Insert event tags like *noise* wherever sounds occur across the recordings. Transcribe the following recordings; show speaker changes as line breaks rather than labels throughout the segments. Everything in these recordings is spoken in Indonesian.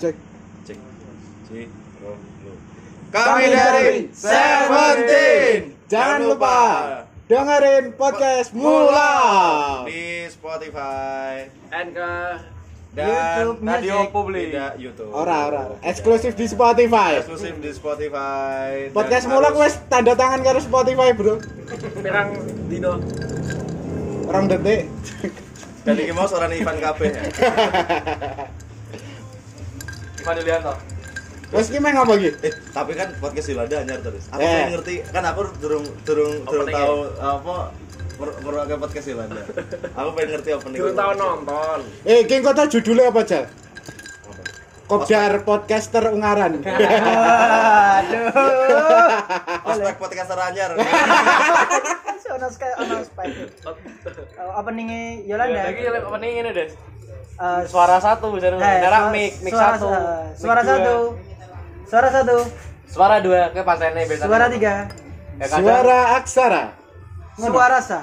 Cek.
Cek. Cek. Roll. Lu.
Kami dari Seventeen. Jangan lupa dengerin podcast Mula.
di Spotify
Anchor
dan
YouTube Radio Music. Publik.
Tidak YouTube.
Ora ora, eksklusif di Spotify.
Eksklusif di Spotify. dan
Podcast Mula
harus-
wes tanda tangan karo Spotify, Bro.
pirang dino
Orang detik.
Dan iki mau seorang Ivan KB ya.
Ivan Yulianto
Wes ki meh ngopo iki?
*laughs* Eh, tapi kan podcast Yolanda anyar terus. Aku
Eh.
pengen ngerti, kan aku durung durung durung
Opening
tahu apa mer- merokok podcast Yolanda.
*laughs*
Aku pengen ngerti opening.
Dulu tahun nonton
Eh, King Kota judulnya apa, Jal?
Apa?
Kopdar podcaster Ungaran.
Ospek podcast
*laughs*
anyar.
ono sekali ono
*laughs*
spike. Eh, openingnya Yolanda.
Iya, Lagi apa nih ini Des?
Eh,
suara satu misalnya
eh,
darah
suara-
mic mic
suara-
satu
eh,
mic
Suara
dua,
satu. Suara satu.
suara dua ke pasannya biasanya
Suara tiga.
ya, kadang-
Suara aksara.
Suara sa.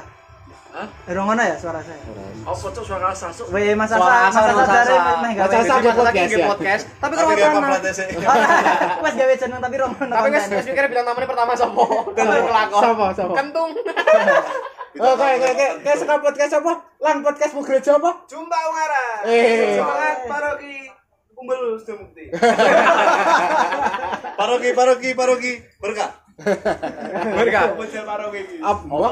Hah?
Eh, Rongono ya suara saya.
Apa tuh Oh, suara sasuk?
Weh, masa
Suara
sa,
Asa,
masa
Asa, Asa.
sa dari meh
Masa
gawe.
Asa.
Biasanya
podcast
lagi
ya?
podcast tapi
Tapi
kalau
gak
nama
pamflet sih.
*laughs* Wes gawe jeneng tapi Rongono.
tapi kan
konten.
terus mikirnya bilang namanya pertama sopo *laughs* dan
Sopo?
kelakon
Sopo, sopo?
kentung
Oh, kayak kayak kayak- kayak suka podcast apa? Lang podcast Mugrejo apa?
Jumpa Ungara
Eh.
Semangat Paroki Kumbel Sumukti
Paroki, paroki, paroki. Berkah.
mereka
Bocah Paroki
Apa?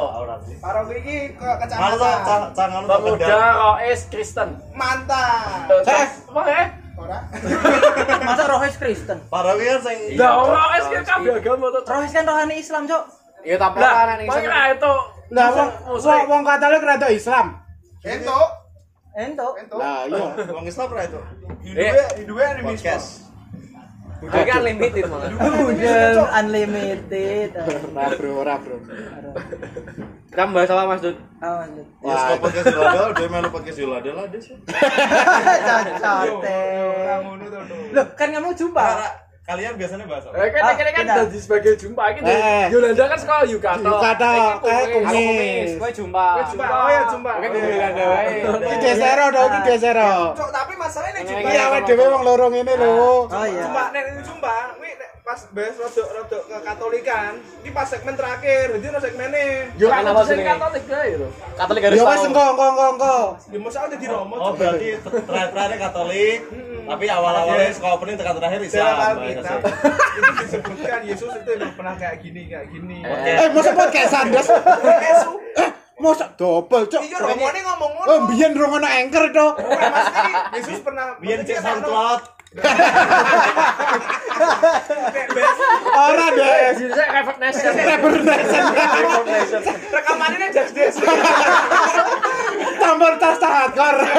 Paroki ini ke
Kalau tak tangan lu
Pemuda Rois Kristen Mantap
oh.
Eh.
Apa ya?
Masa Rohis Kristen.
Paroki kan sing
Iya.
Lah Rois kan kabel agama tuh
Rohis kan rohani Islam, Cok.
ya tapi
Lah,
kan yang
makanya itu
Lah wong wong wong Katolik rada Islam.
Ento,
Ento.
ento.
Lah iya.
wong Islam ra itu.
Hidupnya, hidupnya ada misal.
Podcast.
Iya. kan limited malah
Budem unlimited.
Ora bro, ora bro.
kita bahas apa mas Dut
Ah, lanjut.
Ya
Wah.
suka podcast Yolanda, dia melu podcast Yolanda lah dia. sih.
Cocote. Loh, kan kamu jumpa.
Ra, Kalian biasanya bahas apa?
Eh, kan
Ah,
kan kan
kita.
jadi sebagai jumpa gitu.
Eh.
Yolanda kan sekolah Yukato.
Yukato,
Eh,
kayak
aku
kumis.
kumis gue jumpa
Gue jumpa. Oh ya jumpa.
Oke, gue bilang ada Iya.
Iki desero do, iki desero.
Cok, tapi masalahnya nih
Iya awake dhewe wong loro ngene lho.
Ah.
Oh
cuma
iya.
nek ini jumpa, wi nek pas bahas rodok rodok ke Katolikan, ini pas segmen terakhir, jadi no segmennya.
Yuk,
Kan
kenapa
apa sih
sini?
Katolik ya itu?
Katolik harus
Ya wes
tahu.
engko engko engko engko.
Di masa udah di Romo.
Oh berarti terakhir-terakhirnya Katolik, tapi awal-awalnya sekolah opening terakhir-terakhir Islam. Iya, Baik,
Dalam Alkitab
kasih.
itu disebutkan Yesus itu emang pernah kayak gini kayak gini.
Eh mosok podcast sandes.
Yesus,
Mosok double cok.
iya Romo ini ngomong ngono.
Oh mbiyen rong ono anchor to.
Bukan, maksudnya ini Yesus pernah.
Biar cek
maksudnya kan ono-
SoundCloud.
kayak bahas-
Ora des.
Jadi Eh, saya Revert Nation.
Rebernasen.
Rekamannya nih just this.
Tambor tas hardcore.
Eh.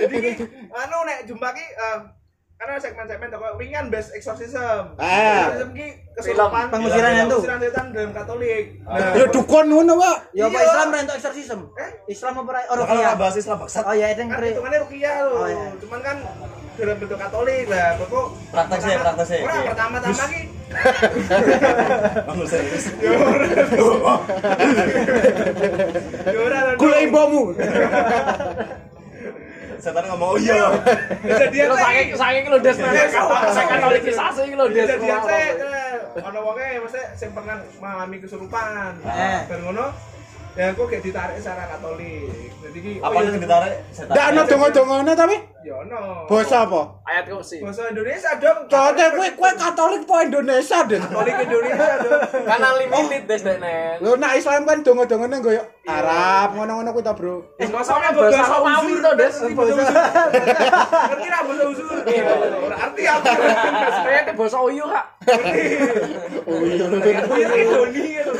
Jadi ini, anu nek jumpa ki eh, karena segmen-segmen toko ringan best exorcism.
Ah.
Exorcism ki kesurupan
Film. Pengusiran
Iya,
hantu.
pengusiran setan dalam Katolik. Nah,
Ya dukun ngono wae.
Ya apa
Iya.
Islam rentok eksorsisme?
Eh?
Islam apa ra- oh,
Kalau
ruqyah?
nggak bahas Islam maksud
Oh ya itu yang
kan
kri.
hitungannya rukiah loh.
Oh, iya.
Cuman kan dalam bentuk Katolik lah. Koko
Prakteknya,
pertama-
prakteknya.
Ora
Iya.
pertama-tama ki
Bangun *laughs* serius.
ya ora lah,
Gula
dong.
imbomu.
Setan ngomong oh iya.
Kejadian
Terus
saya.
saking saking lo des mana?
Iya.
Saya Katolikisasi lo des.
Kejadian saya. eh, Ono wonge mesti sing pernah mengalami kesurupan.
Eh.
Dan ngono ya aku kayak ditarik secara Katolik. Jadi ki oh,
Apa
iya,
yang ditarik setan?
Ndak ono dongo-dongone tapi
Ya ono.
basa apa?
Ayat kursi.
Bahasa Indonesia dong.
Cote kowe kowe Katolik po Indonesia des.
Katolik Indonesia
*laughs*
dong.
karena limited des dek nen
Lho nek Islam kan dongo-dongone nggo yo Arab ngono-ngono kuwi ta, Bro.
Eh, masanya
bahasa
bahasa
Romawi
uzur,
toh, Des.
ngerti bahasa uzur. Ngerti ra bahasa uzur? Ora arti aku.
Saya itu bahasa Oyo kak.
Oh iya.
Kuwi ki Doni gitu.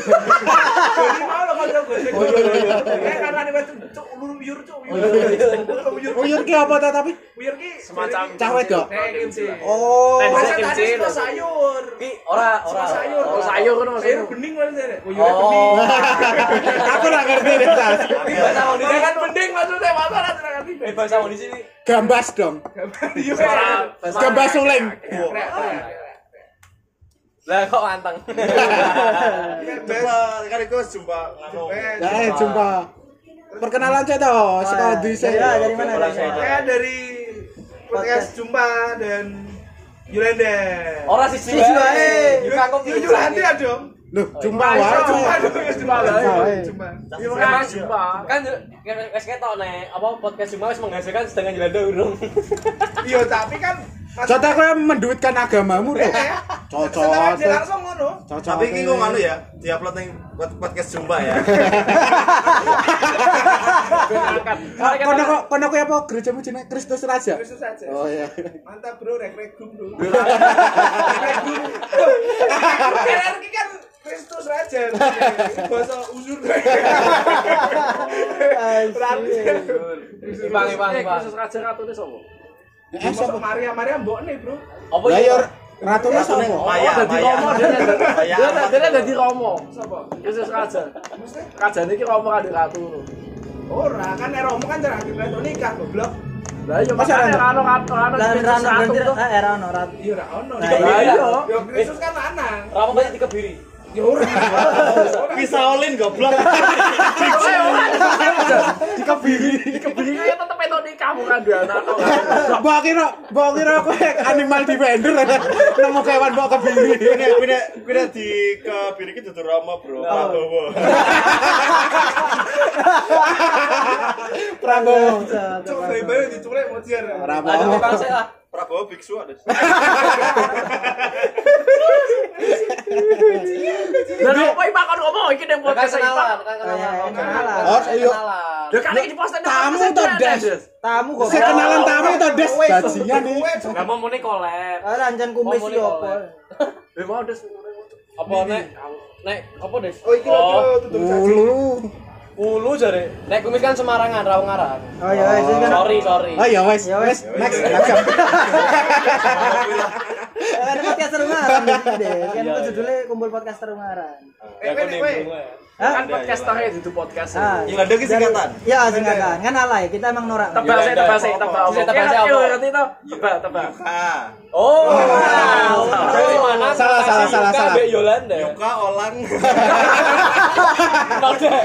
Doni mau lo kanca gue. Eh karena ini wes cuk uyur cuk uyur.
Oh, iya,
Uyur.
Uyur ki apa ta tapi?
Uyur ki
Semacam
Cah wedok.
Oh. Bahasa
Kimchi,
tadi
lho.
suka sayur.
ora
Suka
ora
sayur.
Oh, sayur kan maksudnya.
Sayur bening kan saya. Uyur
*laughs*
oh
Aku ora ngerti deh, Tas.
bahasa
bening.
Indonesia
Kan
kan
bening maksudnya masa ra ngerti.
bahasa Indonesia ini
Gambas dong.
Iya.
Suara
Gambas suling.
Nek, nek, nek.
Lah kok anteng.
Coba kan itu jumpa ngomong.
Eh, jumpa. Perkenalan saya toh, sekolah di
iya,
Ya,
saya.
dari mana? Dari mana?
Saya dari podcast Jumpa dan Yulende.
Ora siji
Siji wae.
Kakung
Yuk Yulende ya dong.
Loh, jumpa wae.
iya,
Jumpa dong, Jumpa
Jumpa.
dong. Jumpa.
Terima kasih. Kan
ya,
ju- kan- wes ketok nek apa podcast Jumlah wis menghasilkan sedangkan Jelanda urung.
Iya, tapi kan
Contoh kalian menduitkan agamamu loh.
Setelah
Cocok.
dia langsung ngono.
Cocok.
Tapi ini kok nganu ya, diupload ning pod- podcast Jumpa *laughs* ya.
Kono kok kono kok apa gerejamu jenenge Kristus Raja?
Terus saja.
Oh iya.
Mantap bro, rek-rek gum bro. Rek-rek gum. RRQ kan Kristus Raja. Ini Bahasa usur. Berarti.
Bang, bang,
Eh,
bang.
khusus raja ratune sapa?
Eh,
Masuk
sapa?
Maria, Maria mbok nih bro.
Apa
Oh,
iya?
Lah
iya.
ya?
ya ratune
Ratune
sapa?
Maya,
dadi
Maya.
Oh, Romo dia
Maya.
dadi dia dadi Romo.
Sopo?
Khusus raja.
Maksudnya?
Rajane iki Romo kadhe ratu.
Ora, kan Eromu kan cara akhir nikah goblok.
Lah iya
Masa
makane
Rano?
rano rano rano
Lan
Kristus
Rano
ratu
berarti
tuh.
eh Rano Rano.
Iya ora ono.
Nah, iya.
Yo Kristus kan lanang.
Romo kan dikebiri.
Ya ora. Ora.
Bisa olin goblok.
Eh, ora, dikebiri. Dikebiri kaya iya, tetep entuk nikahmu kan dua anak. kok.
*laughs* Mbok kira, mbok kira aku kayak animal defender. *laughs* Nemu kewan mbok kebiri.
Kuwi kuwi kuwi di ke biri iki dudu Rama,
Oh.
Bro.
*laughs*
Prabowo.
Prabowo.
Cuk, bayi-bayi diculik mau jiar.
Aduh,
Prabowo.
tukang sik lah.
Prabowo biksu ada.
Lah opo iki bakon ngomong iki ning
Kan
podcast iki.
kenalan, kan
Oh, iya,
kenalan.
iya,
Romo.
kenalan.
Kan
Oh, iya.
kenalan.
Lah kan iki diposting
Tamu to, Des.
Tamu kok.
Saya kenalan tamu itu des bajingan nih.
Kowe
Lah mau muni kolab.
Ora anjan kumis
Oh,
yo
boleh,
opo.
boleh.
Eh, mau Des.
Apa nek nek apa Des?
Oh, iki lho tutup saji.
Ulu.
Ulu jare. Nek kumis kan Semarangan, Rawangaran.
Oh ya wis kan.
Sorry, sorry.
Oh ya wes,
Ya,
wes,
wes.
next, *laughs* next.
Kan podcast rumahan iki deh. Kan itu judulnya kumpul podcast rumahan.
Eh, kowe nih, kowe.
Hah?
Kan podcasternya itu podcast.
Ah.
Yang ada iki singkatan.
Ya singkatan. Kan alay kita emang norak.
Ya,
Tebak saya,
udah,
tebak saya,
apa-apa.
tebak.
Saya tebak
Oke,
saya,
oke,
apa?
ngerti toh? Tebak, tebak.
Ah,
Oh.
wow.
Dari mana?
Salah, salah,
Yuka
salah, salah.
ambek Yolanda.
Yuka Olang. *laughs*
Tau deh.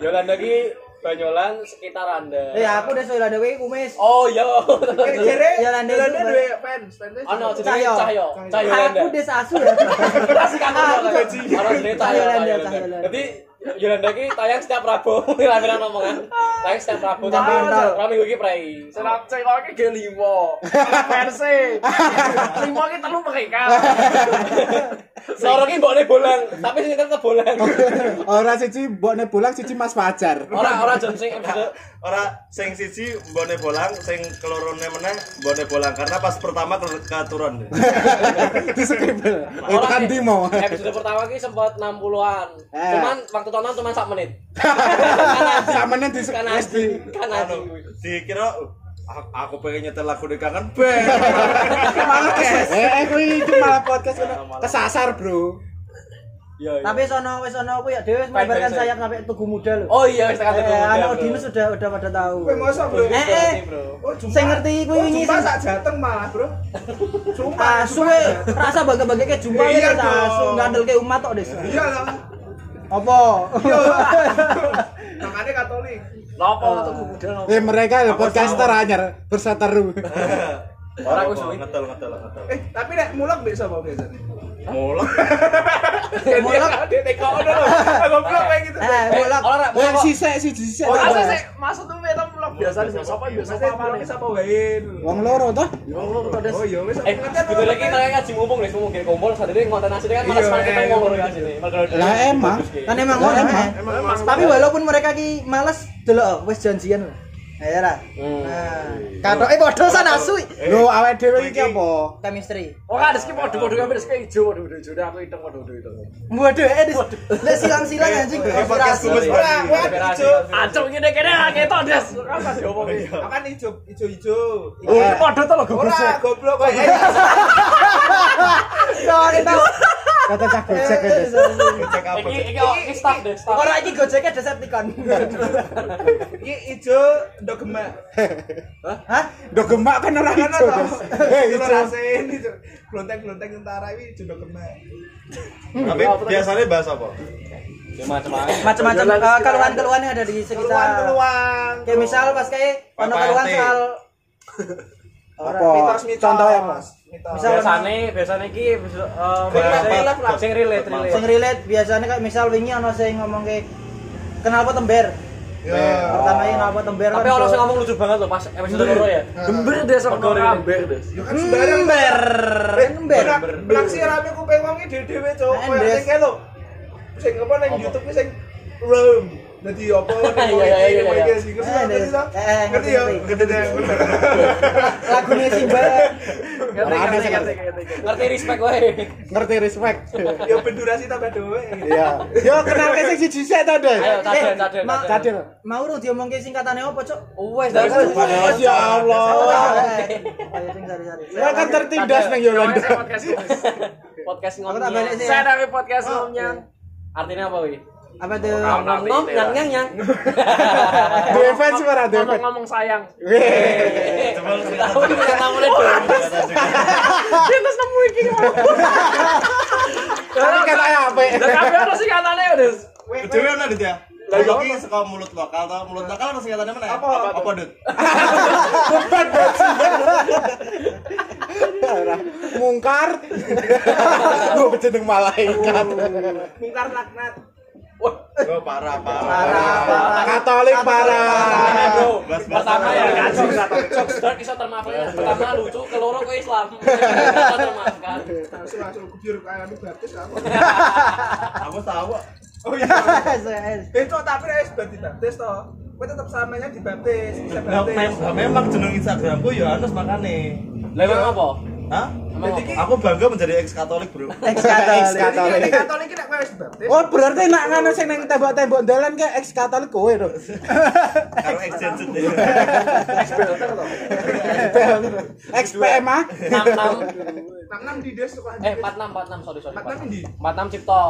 Yolanda ki Banyolan sekitar Anda.
Eh aku udah soal ada kowe kumis.
Oh, iya.
Kere,
Yolanda itu
Yolanda
baru-
duwe fans, fansnya
Ono
juga.
jenenge
Cahyo.
Cahyo. Cahyo Yolanda.
Aku des
*laughs*
asu
Oh,
ya.
Kasih kamu
Ah,
Yolanda. Ono jenenge Cahyo
Cahyo Yolanda,
Yolanda.
Cahyo Yolanda.
Jadi Yolanda ki tayang setiap Rabu. *laughs* Lamiran omongan. kan. Tayang setiap Rabu tapi
Mantap.
Rabu minggu ki prei.
Serap cek kok iki ge limo. Versi. Limo iki telu mereka.
Loro ki mbokne bolang, tapi kan sing tetep bolang.
Orang siji mbokne pulang siji Mas Fajar. *laughs*
Ora ora jen sing episode
Ora sing siji mbone bolang, sing kelorone meneh mbone bolang karena pas pertama ke- keturun.
Di skrip. Itu kan
Orang-
Timo.
Episode pertama ki sempat 60-an.
Eh.
Cuman waktu tonton cuma sak menit.
Samane di
Kan
wes
anjing,
di
kan anjing.
Anu, dikira "Uh, aku- aku pengen nyetel lagu di kangen band.
malah kes. Eh, kuwi iki malah podcast ngono. Kesasar, Bro.
Iya, iya.
Tapi sono wis sono aku ya dhewe wis menyebarkan
Baik-baik saja.
sayap sampai tugu muda lho.
Oh iya, wis tekan
Eh,
tekan.
eh, anak
Bro.
Odinus sudah udah pada tahu.
Kowe mosok, bro.
Eh, eh.
Oh, Jumpa.
Saya ngerti, kowe
Oh,
wingi
Jumpa
sing- Ah,
sak jateng malah, bro. Jumpa.
Asu we rasa bangga-bangga kayak jumpa
Iya
we rasa
dong.
asu ngandel kayak umat tok des.
Iya loh.
Apa?
Yo. Makanya Katolik.
Lopo tuku budal lopo.
Eh, mereka lho podcaster anyar berseteru.
Ora aku suwi.
ngetel ngetel ngetel.
Eh, tapi nek mulak mbek sapa biasanya?
Mulak.
Mulak dia nek kok ono. Goblok kayak gitu.
Eh, bolak.
Ora ora
Yang
mulak.
sisik siji sisik.
Ora
tau,
sih
Bro.
sih masuk tuh metem vlog biasa sih sapa biasa
Biasanya
apa
mulak
nih.
sapa wae. dulu.
Wong loro toh?
Oh, iya wis.
Eh, betul lagi mereka ngaji mumpung nih, mumpung kumpul saat ini ngonten asli kan malah
Iya,
semangat
eh,
kita
iya,
ngomong
iya.
di sini.
eh,
Malah-
Lah, emang.
Kan emang ngono eh. Tapi walaupun mereka ki males delok wis janjian lho. Ya ra.
Hmm.
Nah, katoke padha san asu.
Lho, awake dhewe iki apa?
Chemistry.
Ora rezeki podo-podo kami rezeki ijo podo-podo ijo aku hitam podo-podo hitam.
Waduh, eh dis. Lek silang-silang anjing.
podcast
Aspirasi.
kubus
Ora,
berarti.
ora ijo.
Acung ngene kene ketok des. Apa diomongi?
Makan ijo, ijo-ijo.
Oh, podo to lho
Ora,
goblok.
goblok kayak.
Sorry, Bang.
Kata cah gojek ya, Des.
Cek apa?
Iki iki oh, iki staff deh, staff.
Orang iki gojeknya Decepticon.
Iki ijo ndok gemak.
Hah?
Ndok gemak kan orang
Kan
ijo, Des. *laughs* Hei,
Itu
ijo.
rasain ijo. Glonteng-glonteng tentara iki ijo ndok gemak.
Tapi biasanya bahas apa?
Ya macam-macam.
Macam-macam eh, keluhan-keluhan yang ada di sekitar.
Keluhan-keluhan.
Kayak misal pas kayak ono
Apa
keluhan
ante?
soal
Apa?
Mitos-mitos.
Contohnya apa?
Mitos.
Misal-
Biasane biasane iki eh,
Relate.
biasanya- sing relate
sing
relate.
relate biasanya kayak misal wingi ono sing ngomong kayak kenapa tember?
Ya.
Pertama ini kenapa tember?
Tapi orang sing ngomong lucu banget loh pas episode loro ya.
Gember deh sama
Pegawai.
orang amber deh.
Ya kan
Hmm.
sembarang.
Ember, ember.
Naksi rame kuping wong iki dhewe-dhewe cok.
Nah,
Kayak
Des.
sing kae lho. Sing apa nang YouTube ki sing Rome. Dadi apa ning
Iya, iya, iya,
iki
iya.
sing ngerti
Eh,
ngerti
Des.
toh?
Eh, eh,
Ngerti ya?
ngerti,
Ngerti Des.
Lagunya Simba.
Ngerti ngerti ngerti ngerti.
Ngerti respect wae.
Ngerti respect.
Ya bendurasi tambah dhewe.
Iya. Yo kenal ke sing siji sik to, Des.
Ayo cadel
Eh,
cadel.
Ma-
cadel.
Cadel.
Mau rung diomong kayak singkatannya apa, Cok?
Wes dari
Oh, ya Allah.
Ayo Oh, iya, sing sari-sari.
Ya kan tertindas nang
Namanya saya
Yolanda.
podcast ini.
podcast
Aku tak balik
ngomongnya.
sih.
Saya dari podcast sebelumnya.
Artinya apa wi?
Apa tuh?
ya. Oh, iya. Ngomong-
Ngom ngom nyang nyang nyang.
Dua fans ora Eh, dua fans.
Ngomong-ngomong sayang.
Eh,
Coba lu cerita.
Tahu kita namanya *laughs* dong.
Cerita juga.
Dia terus nemu iki.
Tapi kan ayo apa? ya?
Dan kabeh ono sih katanya udah.
Dewe ana Dit ya. Lah yo iki saka mulut lokal ta, mulut lokal ono singkatannya mana? ya?
Apa?
Apa Dit?
Arah. Mungkar. Gua jeneng malaikat.
Mungkar laknat.
Oh, parah, parah.
Katolik parah.
Aduh,
Bas- bas-
pertama ya
bas-
kacau Jokes dark iso termaafkan. ya. Pertama lucu, keloro kok *laughs* Islam. Iso termaafkan.
Langsung langsung kubur kayak anu baptis apa.
Aku tahu.
Oh iya.
*laughs* Saya-
Eh cok tapi wis bab dibaptis toh. Kowe tetep samanya dibaptis, bisa
Nah,
baptis.
mem- memang jeneng Instagramku Yohanes makane.
Lah emang apa?
Hah?
Emang
Jadi-
Aku bangga menjadi ex Katolik, *laughs* Bro.
Ex
Ex-Katolik.
Jadi
Katolik.
nek Katolik ki nek kowe wis baptis,
Oh berarti nak ngono sing nang tembok-tembok dalan ke ex Katolik kowe to.
Karo ex Jensen.
Ex PMA.
Enam enam.
nang nang di des sekolah.
Eh empat enam empat enam sorry sorry.
Nang nang ndi?
Empat enam Cipto.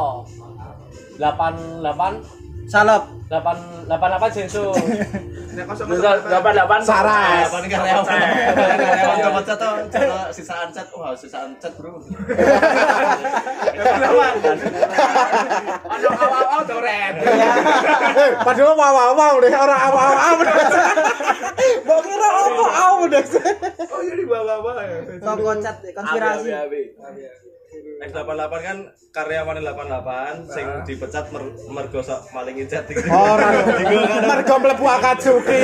Delapan delapan
Salep.
delapan delapan delapan Sensu.
Nek kosong
Dapat
*laughs*
dapat.
Saras. *laughs*
Kapan karyawan? Karyawan copot cat toh, cat toh, sisaan cat. Wah, sisaan cat, Bro.
Ono awal-awal to ren.
Eh, Padahal wawaw deh orang awal-awal deh. Mbok kira opo aw deh.
Oh iya di bawah-bawah ya.
Kok kocet konspirasi.
X88 kan karyawan 88 sing dipecat mer mergo sok maling ijat iki.
Orang
Iku kan.
mergo mlebu Akatsuki.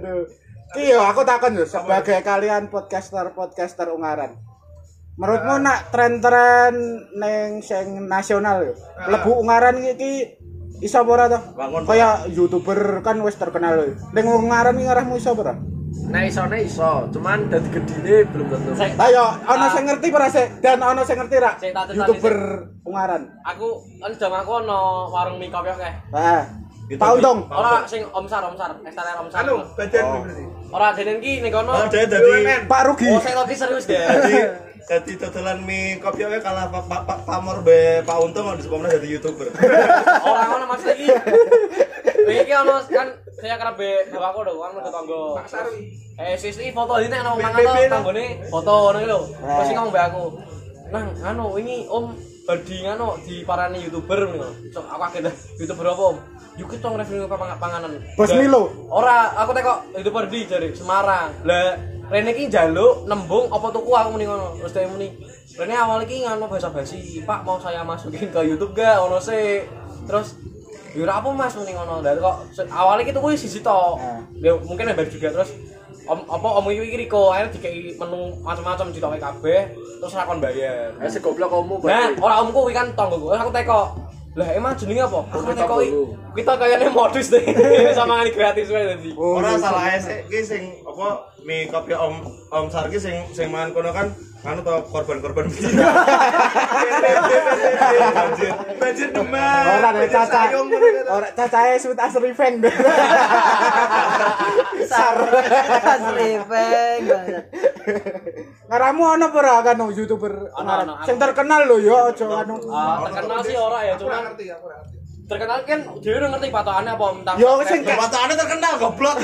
Aduh. Ki yo aku takon yo sebagai kalian podcaster-podcaster Ungaran. Menurutmu nak tren-tren ning sing nasional yo. Mlebu Ungaran iki iso apa ora to?
Bangun.
Kaya YouTuber kan wis terkenal yo. Ning Ungaran iki ngarahmu iso apa ora?
Nah isone iso, cuman dari gedine belum tentu.
Saya-
Ayo, ono sing ngerti ora sik dan ono sing ngerti ra?
Sik, tak cetani,
YouTuber Ungaran.
Aku kan jam aku ono warung mie kopi oke.
Ah.
Gitu,
Tau
Bi.
dong.
Ora sing omsar omsar, eksternal omsar.
Anu, badan gue berarti.
Ora dene iki ning kono.
Oh,
Oh,
dia jadi
BUMN.
Pak Rugi.
saya lagi serius deh.
jadi jadi totalan mie kopi oke kalah pak pak pak pamor be pak untung kalau disebutnya jadi youtuber
Orang ono maksud iki. Iki ono kan saya kerap be bapakku lho kan ke tanggo.
Pak Sarwi.
Eh sis iki foto ini nang omah
BBB
ngono
lah.
tanggone foto ngono iki lho. Terus iki ngomong be aku. Nang anu wingi Om badi ngono diparani YouTuber ngono. Cok aku kaget dah. YouTuber apa Om? Yuk kita nge-review pang- panganan.
Bos
Lah,
Milo.
Ora, aku tekok YouTuber di jare Semarang. Lah Rene iki njaluk nembung apa tuku aku muni ngono. Terus dia muni, Rene awal iki ngono basa-basi, "Pak, mau saya masukin ke YouTube gak?" Ono sih. Terus Yo ora apa Mas muni ngono. Lah kok se- awalnya iki tuku siji tok. Ya mungkin lebar juga terus Om apa om iki iki Riko akhirnya dikei menu macam-macam ditoke kabeh terus rakon bayar.
Eh segoblok kamu
Nah, ora omku kuwi kan tanggoku. Terus aku teko. Lah emang jenenge apa? Aku
Kita
teko
dulu.
kita kayaknya modus deh. Sama ini gratis wae tadi.
Oh,
orang
iya,
salah sih ki sing apa mi kopi Om Om Sarki sing sing mangan kono kan anu to korban-korban banjir. Banjir.
Banjir Demak.
Ora deh
banjir
caca.
Sayung, ngono kan.
Ora cacae suit as revenge. deh. Sar.
Srepeng banget.
*laughs* Ngaramu ono apa ora kan no, YouTuber
Ono, ono,
ngaran? Sing terkenal lho ya aja anu.
Ah, terkenal sih ora ya,
Aku nggak
cuman
ngerti, aku nggak ngerti.
terkenal kan dia udah ngerti patokannya apa tentang
Yo sing
Lah, Patokannya terkenal goblok.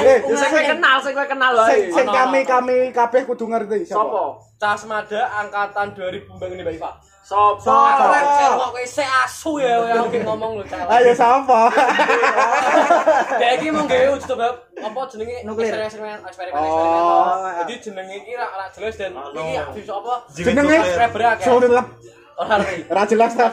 eh,
Sing
sing
kowe kenal, sing kowe kenal wae.
sing- sing
Ono,
kami
ono.
kami kabeh kudu ngerti
Sopo?
sapa.
Casmada angkatan 2000 Mbak ini Mbak Iva.
Sopo?
Sopo?
Keren sih kok kowe sik asu ya kowe aku ngomong lho cewek.
Ayo sapa?
Ya iki mung gawe uji coba apa jenenge
Nuklir.
eksperimen eksperimen
Oh.
eksperimen. toh. Jadi jenenge iki ra ra jelas dan iki bisa apa?
Jenenge?
Subscriber akeh.
Sulit lah.
Ora ngerti.
Ra jelas ta.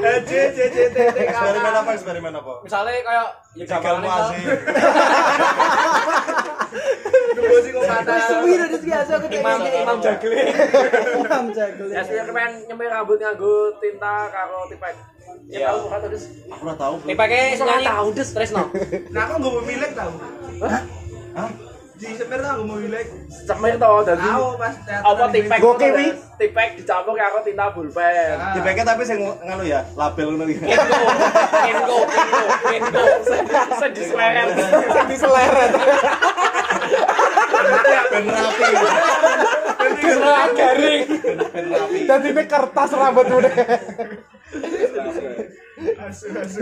Eh, J J J T T K.
Eksperimen apa eksperimen apa?
Misalnya kayak ya
Jagal
gambarannya
muasi.
misal-
Nunggu sih kok kata.
Wis suwi lho Dis, biasa aku
Imam
kayak
Imam Jagle.
Imam jago.
Ya sih kepen nyemir rambut nganggo tinta karo tipek. Ya tahu kok terus.
Aku ora tahu. Bro.
Tipeke
Iso
nyanyi
nggak tahu,
Des Tresno.
Nah, aku nggak mau milik tau.
Hah?
Di semir tau nggak mau milik.
Cemir to dadi.
Tahu pas.
Apa tipek?
Go kiwi.
Tipek dicampur karo tinta pulpen.
Ah.
Di PK tapi sing nganu ya, label ngono iki.
Kengo, Kengo, Kengo, Kengo.
Sedih seleret.
Sing diseleret.
Ben *laughs* rapi.
Gerah garing.
Ben rapi.
Dadi ini kertas rambut udah.
Asu asu.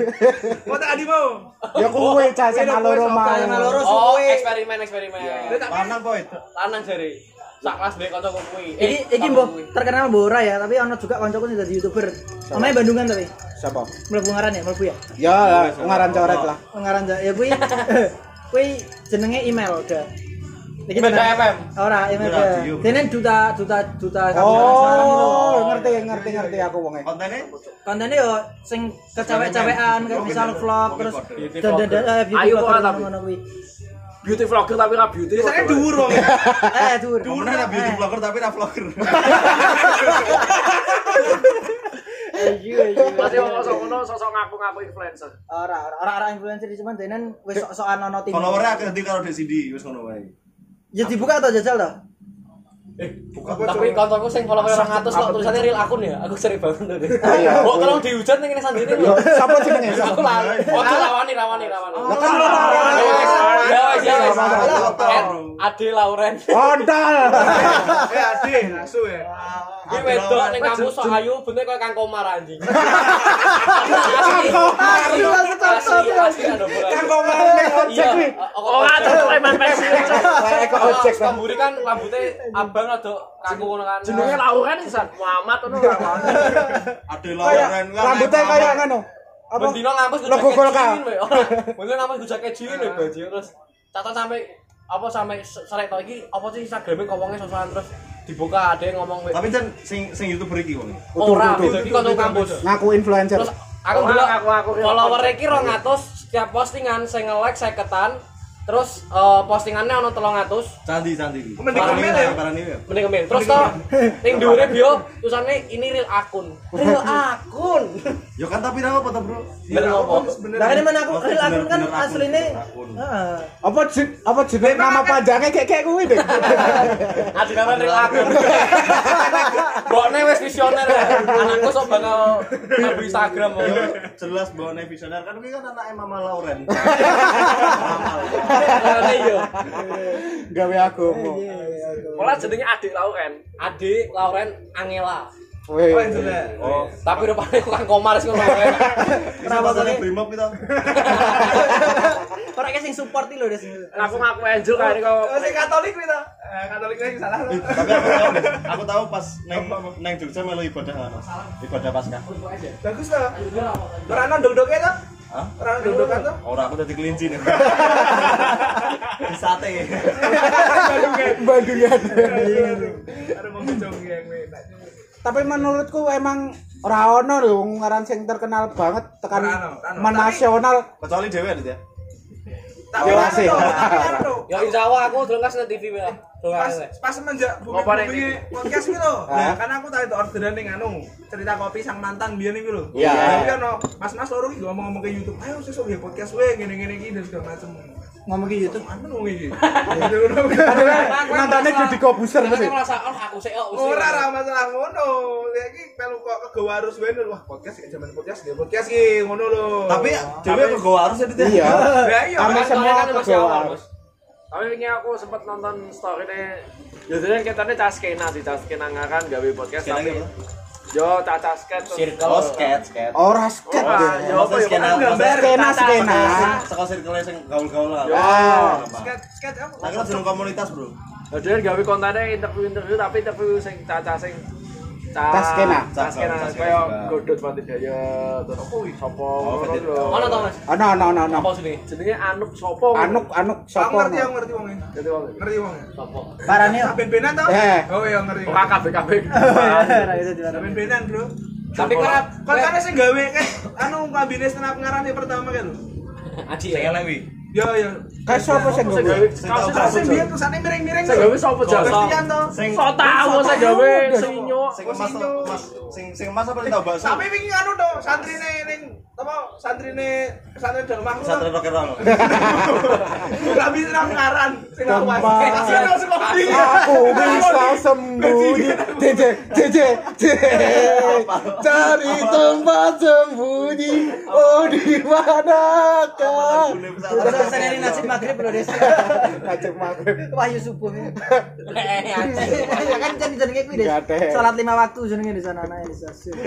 Mau tak adi mau?
Ya kuwe cah sama loro
Kaya
mau.
maloro
Oh,
suwe.
eksperimen eksperimen.
Lanang boy.
Lanang jare. Sak kelas mbek kanca kuwi.
Iki iki mbok terkenal mbok ora ya, tapi ono juga kancaku sing dadi YouTuber. Omahe Bandungan tapi.
Sapa?
Mlebu ngaran ya, mlebu ya.
Ya lah, ngaran coret lah.
Ngaran ja- ya kuwi. Kuwi jenenge email udah. Iki
Imelda
bener.
FM.
Ora email.
Radio.
Dene duta duta duta kabupaten Semarang lho.
Oh, ngerti ngerti ngerti aku wonge.
Kontennya
Kontennya yo sing kecewek-cewekan kayak misal vlog terus
Beauty
dan dan eh beauty
Ayu
vlogger
kok tapi.
ngono-ngono kuwi.
Beauty vlogger tapi ra beauty.
Biasanya dhuwur wong.
Eh dur.
Kemudian ada beauty vlogger tapi ada vlogger.
Masih wong sosok ngono sosok ngaku-ngaku influencer.
Ora ora ora ora influencer cuman denen wis sok-sokan ono tim.
Followernya akeh di karo di CD wis ngono wae.
Ya dibuka atau jajal to?
Tapi kancaku sing follow 200 kok tulisannya real akun ya. Aku sering banget tuh.
Iya.
Mbok tolong dihujat ning kene sandine
Yo,
lho.
sapa jenenge?
Aku lali. Oh, lawani lawani lawani.
lawani.
Ya wis, ya wis, ya wis.
Salah,
Eh, Ade Lauren.
Ondal.
Eh adi, asu ya.
Iki wedok ning kampus sok ayu bentuk koyo Kang Komar anjing. Asli.
Kangkomar.
Asli, asli ada bola.
Kangkomar nek
Iya.
ojek kuwi.
Ora terleman pensiun.
Kayak kok ojek ta.
Kamburi kan rambutnya abang rada kaku ngono kan.
Jenenge Lauren Isan Muhammad ngono ora ngono.
Ada
Kayak
Lauren.
rambutnya kayak ngono. Apa?
Bendino ngampus gue
Logo Golkar.
*laughs* Bendino ngampus gue jaket jilin weh baju terus catat sampai apa sampai se- serek tau iki apa sih Instagramnya ngomongnya sosokan terus dibuka ada yang ngomong weh
Tapi jan sing sing YouTuber iki wong.
Utuh,
ora
utuh.
jadi kanca kampus.
Ngaku influencer.
Terus aku
Ora,
dulu
aku- aku- aku-
follower iki 200 setiap postingan saya nge-like saya ketan terus eh, postingannya ono 300
Candi candi.
Mending kemil ya.
Parani ya.
mending kemen terus toh ning dhuwure bio tulisannya ini real akun real akun
Ya kan tapi nama apa toh, Bro?
bener apa
Bener.
Lah kan men aku
Bener,
real akun kan
bener akun,
asline.
bener akun.
Heeh.
Apa jen- apa jenenge nama
kan-
panjangnya kayak kayak kuwi deh.
Adilan real aku. Mbokne wis visioner ya. Anakku sok bakal mlebu Instagram kok.
Ya, jelas bahwa Nek visioner kan ini kan anaknya Mama Lauren.
Ngene yo.
Gawe aku.
Iya,
Ora jenenge adik Lauren.
Adik Lauren Angela.
Weh.
Apa yang jelek?
Oh,
Tapi rupane aku kan komar sing ngono. ya.
bisa masuknya Brimob kita.
Ora kayak sing support iki lho Des.
Aku ngaku Angel kare kok.
Oh, si Katolik kuwi ta? Eh, Katolik kuwi salah.
Ih, Tapi aku tahu, aku tahu pas neng neng Jogja melu ibadah anu, ibadah Paskah.
Bagus ta? Ora ana dongdoke ta?
Hah?
Ora ana dongdokan ta?
Orang aku tadi kelinci nih. Di sate.
Bandungan.
Iya, Ada mau yang kuwi.
Tapi menurutku emang ora ono lho wong ngaran sing terkenal banget tekan
Ora ono, ora ono.
menasional.
Kecuali dewe ada ya.
Tak
Dewasa.
pirang, Dok. Tak pirang, Dok.
Ya insya Allah aku dulu nang TV ya.
pas
Dongkas.
pas semenjak bumi
Ngopo, Rek?
bumi podcast gitu loh
Hah?
nah karena aku tadi orderan nih anu cerita kopi sang mantan biar nih loh
Iya.
tapi kan no, mas mas loro gue ngomong ngomong ke YouTube ayo sesuk ya podcast gue gini gini gini dan segala macem
ngomong ke YouTube
anu ngomong gitu Gitu.
Nantane jadi kobuser
Tapi
mesti.
kan merasa oh aku sih oh.
ora ora masalah ngono lagi kalau kok kegawa harus gue nih wah podcast kayak zaman podcast dia podcast ki ngono loh
Tapi dewe kok harus jadi
Iya.
ya iya
Kami
Mas.
semua
Kan
kegawaan.
Tapi ini aku sempat nonton story-nya Jadinya kita nih caskena sih, caskena ngaran gawe podcast
Skena
tapi
apa?
Yo, cacasket terus
Oh,
Circle.
sketch, sketch.
Ora sket.
Wah,
iya.
yo apa yo,
Skena,
kan gambar
skena,
tata-
skena.
Sekolah circle sing gaul-gaul lah.
Ah.
sketch sketch apa
Nah, kan jeneng komunitas, Bro.
Jadinya gawe kontennya interview-interview tapi interview sing caca sing ca-
Caskena.
Caskena,
Caskena,
kaya
juga.
Godot Mati Daya, terus apa wih, sopo
Oh,
ngono
Godot.
lho.
Ono to Mas?
Ana ana ana ana.
Apa sini?
Jenenge Anuk sopo ngono.
Anuk anuk
aku
sapa.
ngerti aku ngerti wongnya
Jadi wong.
ngerti wongnya
Sopo?
parane yo
ben benan tau
Eh.
oh iya ngerti
Ora kabeh-kabeh.
ben benan bro
Tapi kerap
Kan karena sing gawe kan anu pambine stand up ngaran yang pertama kan lho.
Aji
Sing
ya.
elewi.
Yo yo.
Kae sapa sing
Sing
gawe?
gawe
Sing
Terus
kaos
sing biyen tulisane miring-miring.
Sing gawe sopo jasa?
Kristian to.
Sing
So tau saya gawe sing nyok.
sing
Oh,
mas
sinyo.
mas sing sing mas apa tau bakso?
Sampai wingi anu to santrine ning apa santrine pesantren Dalmah.
Santri rock
*laughs*
and roll.
Ora bisa nang ngaran sing aku mas.
Tempat.
Kasihan lo semua ini.
Aku bisa sembunyi Jece, jece, jece Cari tempat sembunyi Oh di manakah
Bule
Terus
pesantren.
pesan dari nasib maghrib loh desa.
Kacau maghrib
Wahyu subuh. *laughs*
Eh, Aji.
Ya kan kan jenenge kuwi deh.
Nggak ada.
Salat lima waktu jenenge di sana anake di stasiun.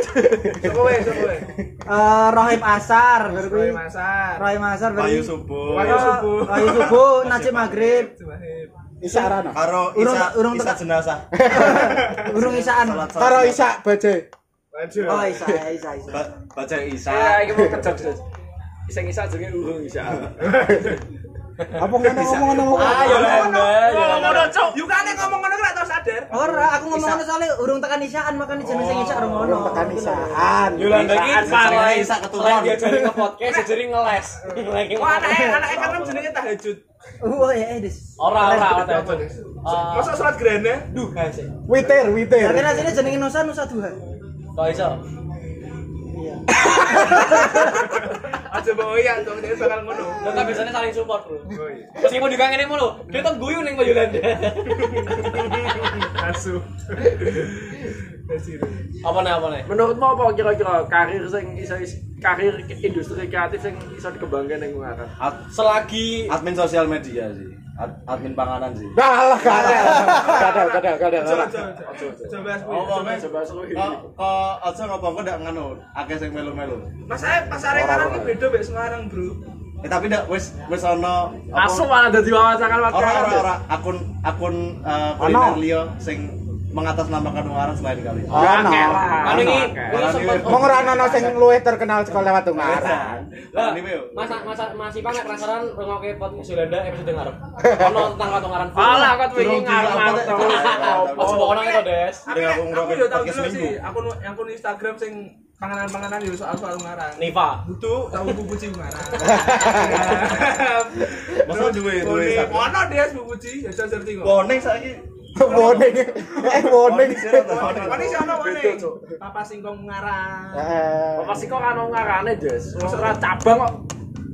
Sopo wae, sopo wae.
Eh Rohim Asar baru kuwi.
Roy Masar.
Rohim Asar baru.
Bayu
kuwi.
subuh.
Wahyu Subuh.
Wahyu subuh, nasib maghrib.
Isa Rana
Karo
Urung-
isa
urung
isa
teka-
jenazah.
Urung isaan.
Salat
Karo Isa Baje
Waduh.
Oh isa isa isa.
Ba- Baca isa.
Ya, iki mau kejok. Sus. Sing isa jenenge urung isa.
Apa ngono ngomong ngono ngomong
Ayo lembah.
Ngono cok.
Yuk kan yang ngomong ngono gak tau sadar.
Ora, aku ngomong ngono soalnya urung tekan isaan makane jeneng sing isak urung
Orang
ngono.
tekan Isaan
Yolanda iki
Selain-
parah.
selain keturunan.
Selain dia jadi ke podcast, dia jadi ngeles. Lagi
Wah, anake anake kan jenenge tahajud.
Oh ya Edis.
Ora ora ora. Eh,
Masa salat grene?
duh sih.
Witir, witir
Tapi rasanya jenenge Nusa Nusa Duha.
Kok iso?
Iya.
Aja bawa iya, dong dia bakal ngono.
Lo kan biasanya saling support, Bro.
Oh,
Meskipun dikangeni mulu, dia tuh guyu ning Mbak
*laughs*
Yolanda.
Asu.
Apa nih apa nih?
Menurutmu apa kira-kira karir sing iso karir industri kreatif sing iso dikembangkan ning Ungaran?
Ad-
Selagi
Admin sosial media sih. Ad- admin panganan sih.
Dah lah *laughs* kadal Kadal, kadal, kadal
Coba coba coba.
Apa
Coba seru.
Kok kok Oh, aja ngopo kok ndak nganu, akeh sing melu-melu.
Mas saya pasar Karang ini beda mbek Semarang, Bro.
Eh tapi ndak wis wis ana apa-
Masuk malah dadi wawancara
Ora
wawancara.
ora ora akun akun eh,
Ana.
kuliner liyo sing mengatasnamakan Ungaran selain kalian.
Oh. Ono
Akeh lah.
anu iki
Akeh.
iki sempat
Mong ora ana sing luwih terkenal sekolah lewat Ungaran
Lah, ini, Beo.
Mas Mas Mas Ipan nggak penasaran ngongoke podcast Yolanda episode ngarep. Ono tentang katongaran.
Alah aku tuh ingin
Durung juga
ngarep
apa,
terus.
*laughs* Pas
Apa?
pokoknya itu, Des.
Tapi
Dengan aku
aku
ngeroket
yo tahu
podcast
dulu
seminggu.
sih, akun akun Instagram sing panganan-panganan yo soal-soal Ungaran.
Niva.
Butuh tahu buku ci Ungaran.
*laughs* Masa duwe duwe
Duwe
Instagram?
ono dia buku ci, ya saya ngerti kok.
Bonek saiki.
Boning Eh boning
Ono sih ono ono.
Beda, Cuk.
Papa singkong Ungaran.
Eh,
Apa sih kok ana ngarane, Des? Ora cabang kok.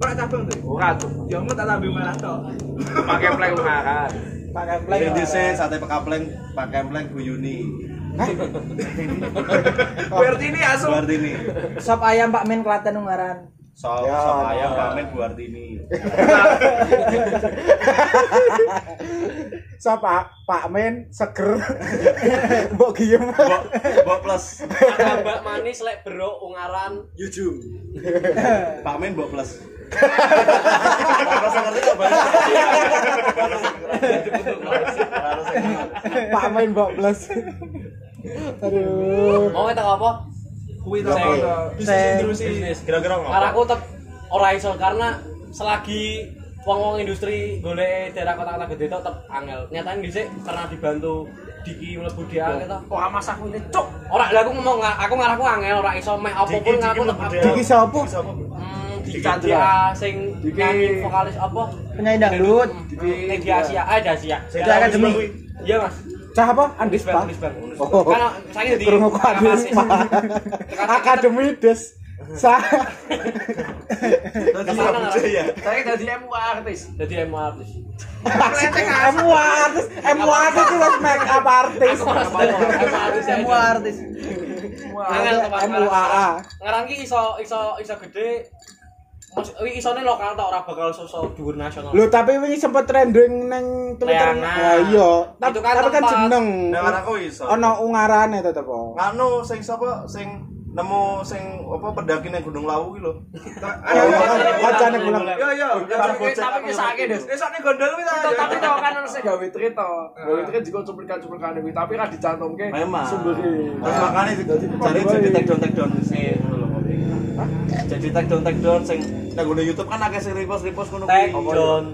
Ora cabang tuh.
Ora tuh.
Ya engko tak tambah Ungaran tok.
Pakai play Ungaran.
pakai play.
Sing dhisik sate pekapleng, Pak Kempleng guyuni.
Berarti ini asu.
Buartini.
Sop ayam Pak Men Klaten Ungaran.
Sop
Ya.
sop ayam ramen Buartini.
So, Pak, Pak Men seger. *laughs* Mbok Giem.
Bok bok plus.
Mbak manis lek bro ungaran.
Yujum. Pak Men bok plus. Ora sing ngerti kok balik. Ora sing ngerti.
Pak Men mbok plus. Aduh.
Mau tak apa?
Kuwi to.
Sing-
Bisnis industri.
Bisnis.
Kira-kira
Karena
ngopo?
aku tetep ora iso karena selagi wong-wong industri golek daerah kota-kota gede tok tetep angel. Nyatane dhisik karena dibantu Diki mlebu dia gitu.
Wah, mas aku ini cuk.
Ora lha aku ngomong aku ngarahku angel ora iso meh apa pun
Diki,
ngaku
Diki
tetep
mlebu DA.
Iki sapa?
Hmm, di KCA sing
Diki.
nyanyi vokalis apa?
penyanyi dangdut
Ning di Asia, ah di Asia.
Jadi akademi.
Iya, Mas.
Cah apa? Andis
Lisbon,
Pak.
Lisbon.
Oh.
Karena saya di
Kurung aku Andis
Kapas-
Pak. Akademi Des. Sa.
Ke sana lah.
Saya jadi MUA artis.
Jadi emo artis.
MU artis, MU artis itu harus make up artis.
Emo artis.
semua artis
Angel teman
MUAA.
Ngaran ki iso iso iso gede. Mas wi isone lokal ta ora bakal sosok dhuwur nasional.
Lho tapi wingi sempet trending neng Twitter.
Leana.
Wah iya, Ta-
Itu kan
tapi kan
tempat.
jeneng.
Nah, aku iso.
Ono ungarane tetep. oh. kok.
Ngano sing sapa sing nemu sing apa pendaki nang Gunung Lawu ki lho.
Ayo,
Oh.
ayo, ayo, kacane bulan.
Yo yo,
Tapi tapi sakit deh.
Esokne gondol wis
Tapi tapi tau kan harus gawe tweet to. Gawe tweet juga cuplikan-cuplikan ini. tapi kan dicantumke
Memang.
sumbernya.
Terus makane jadi jadi take down take down sih ngono lho, Pak. Jadi take down take down sing nang nggo YouTube kan akeh sing repost repost ngono
Take down.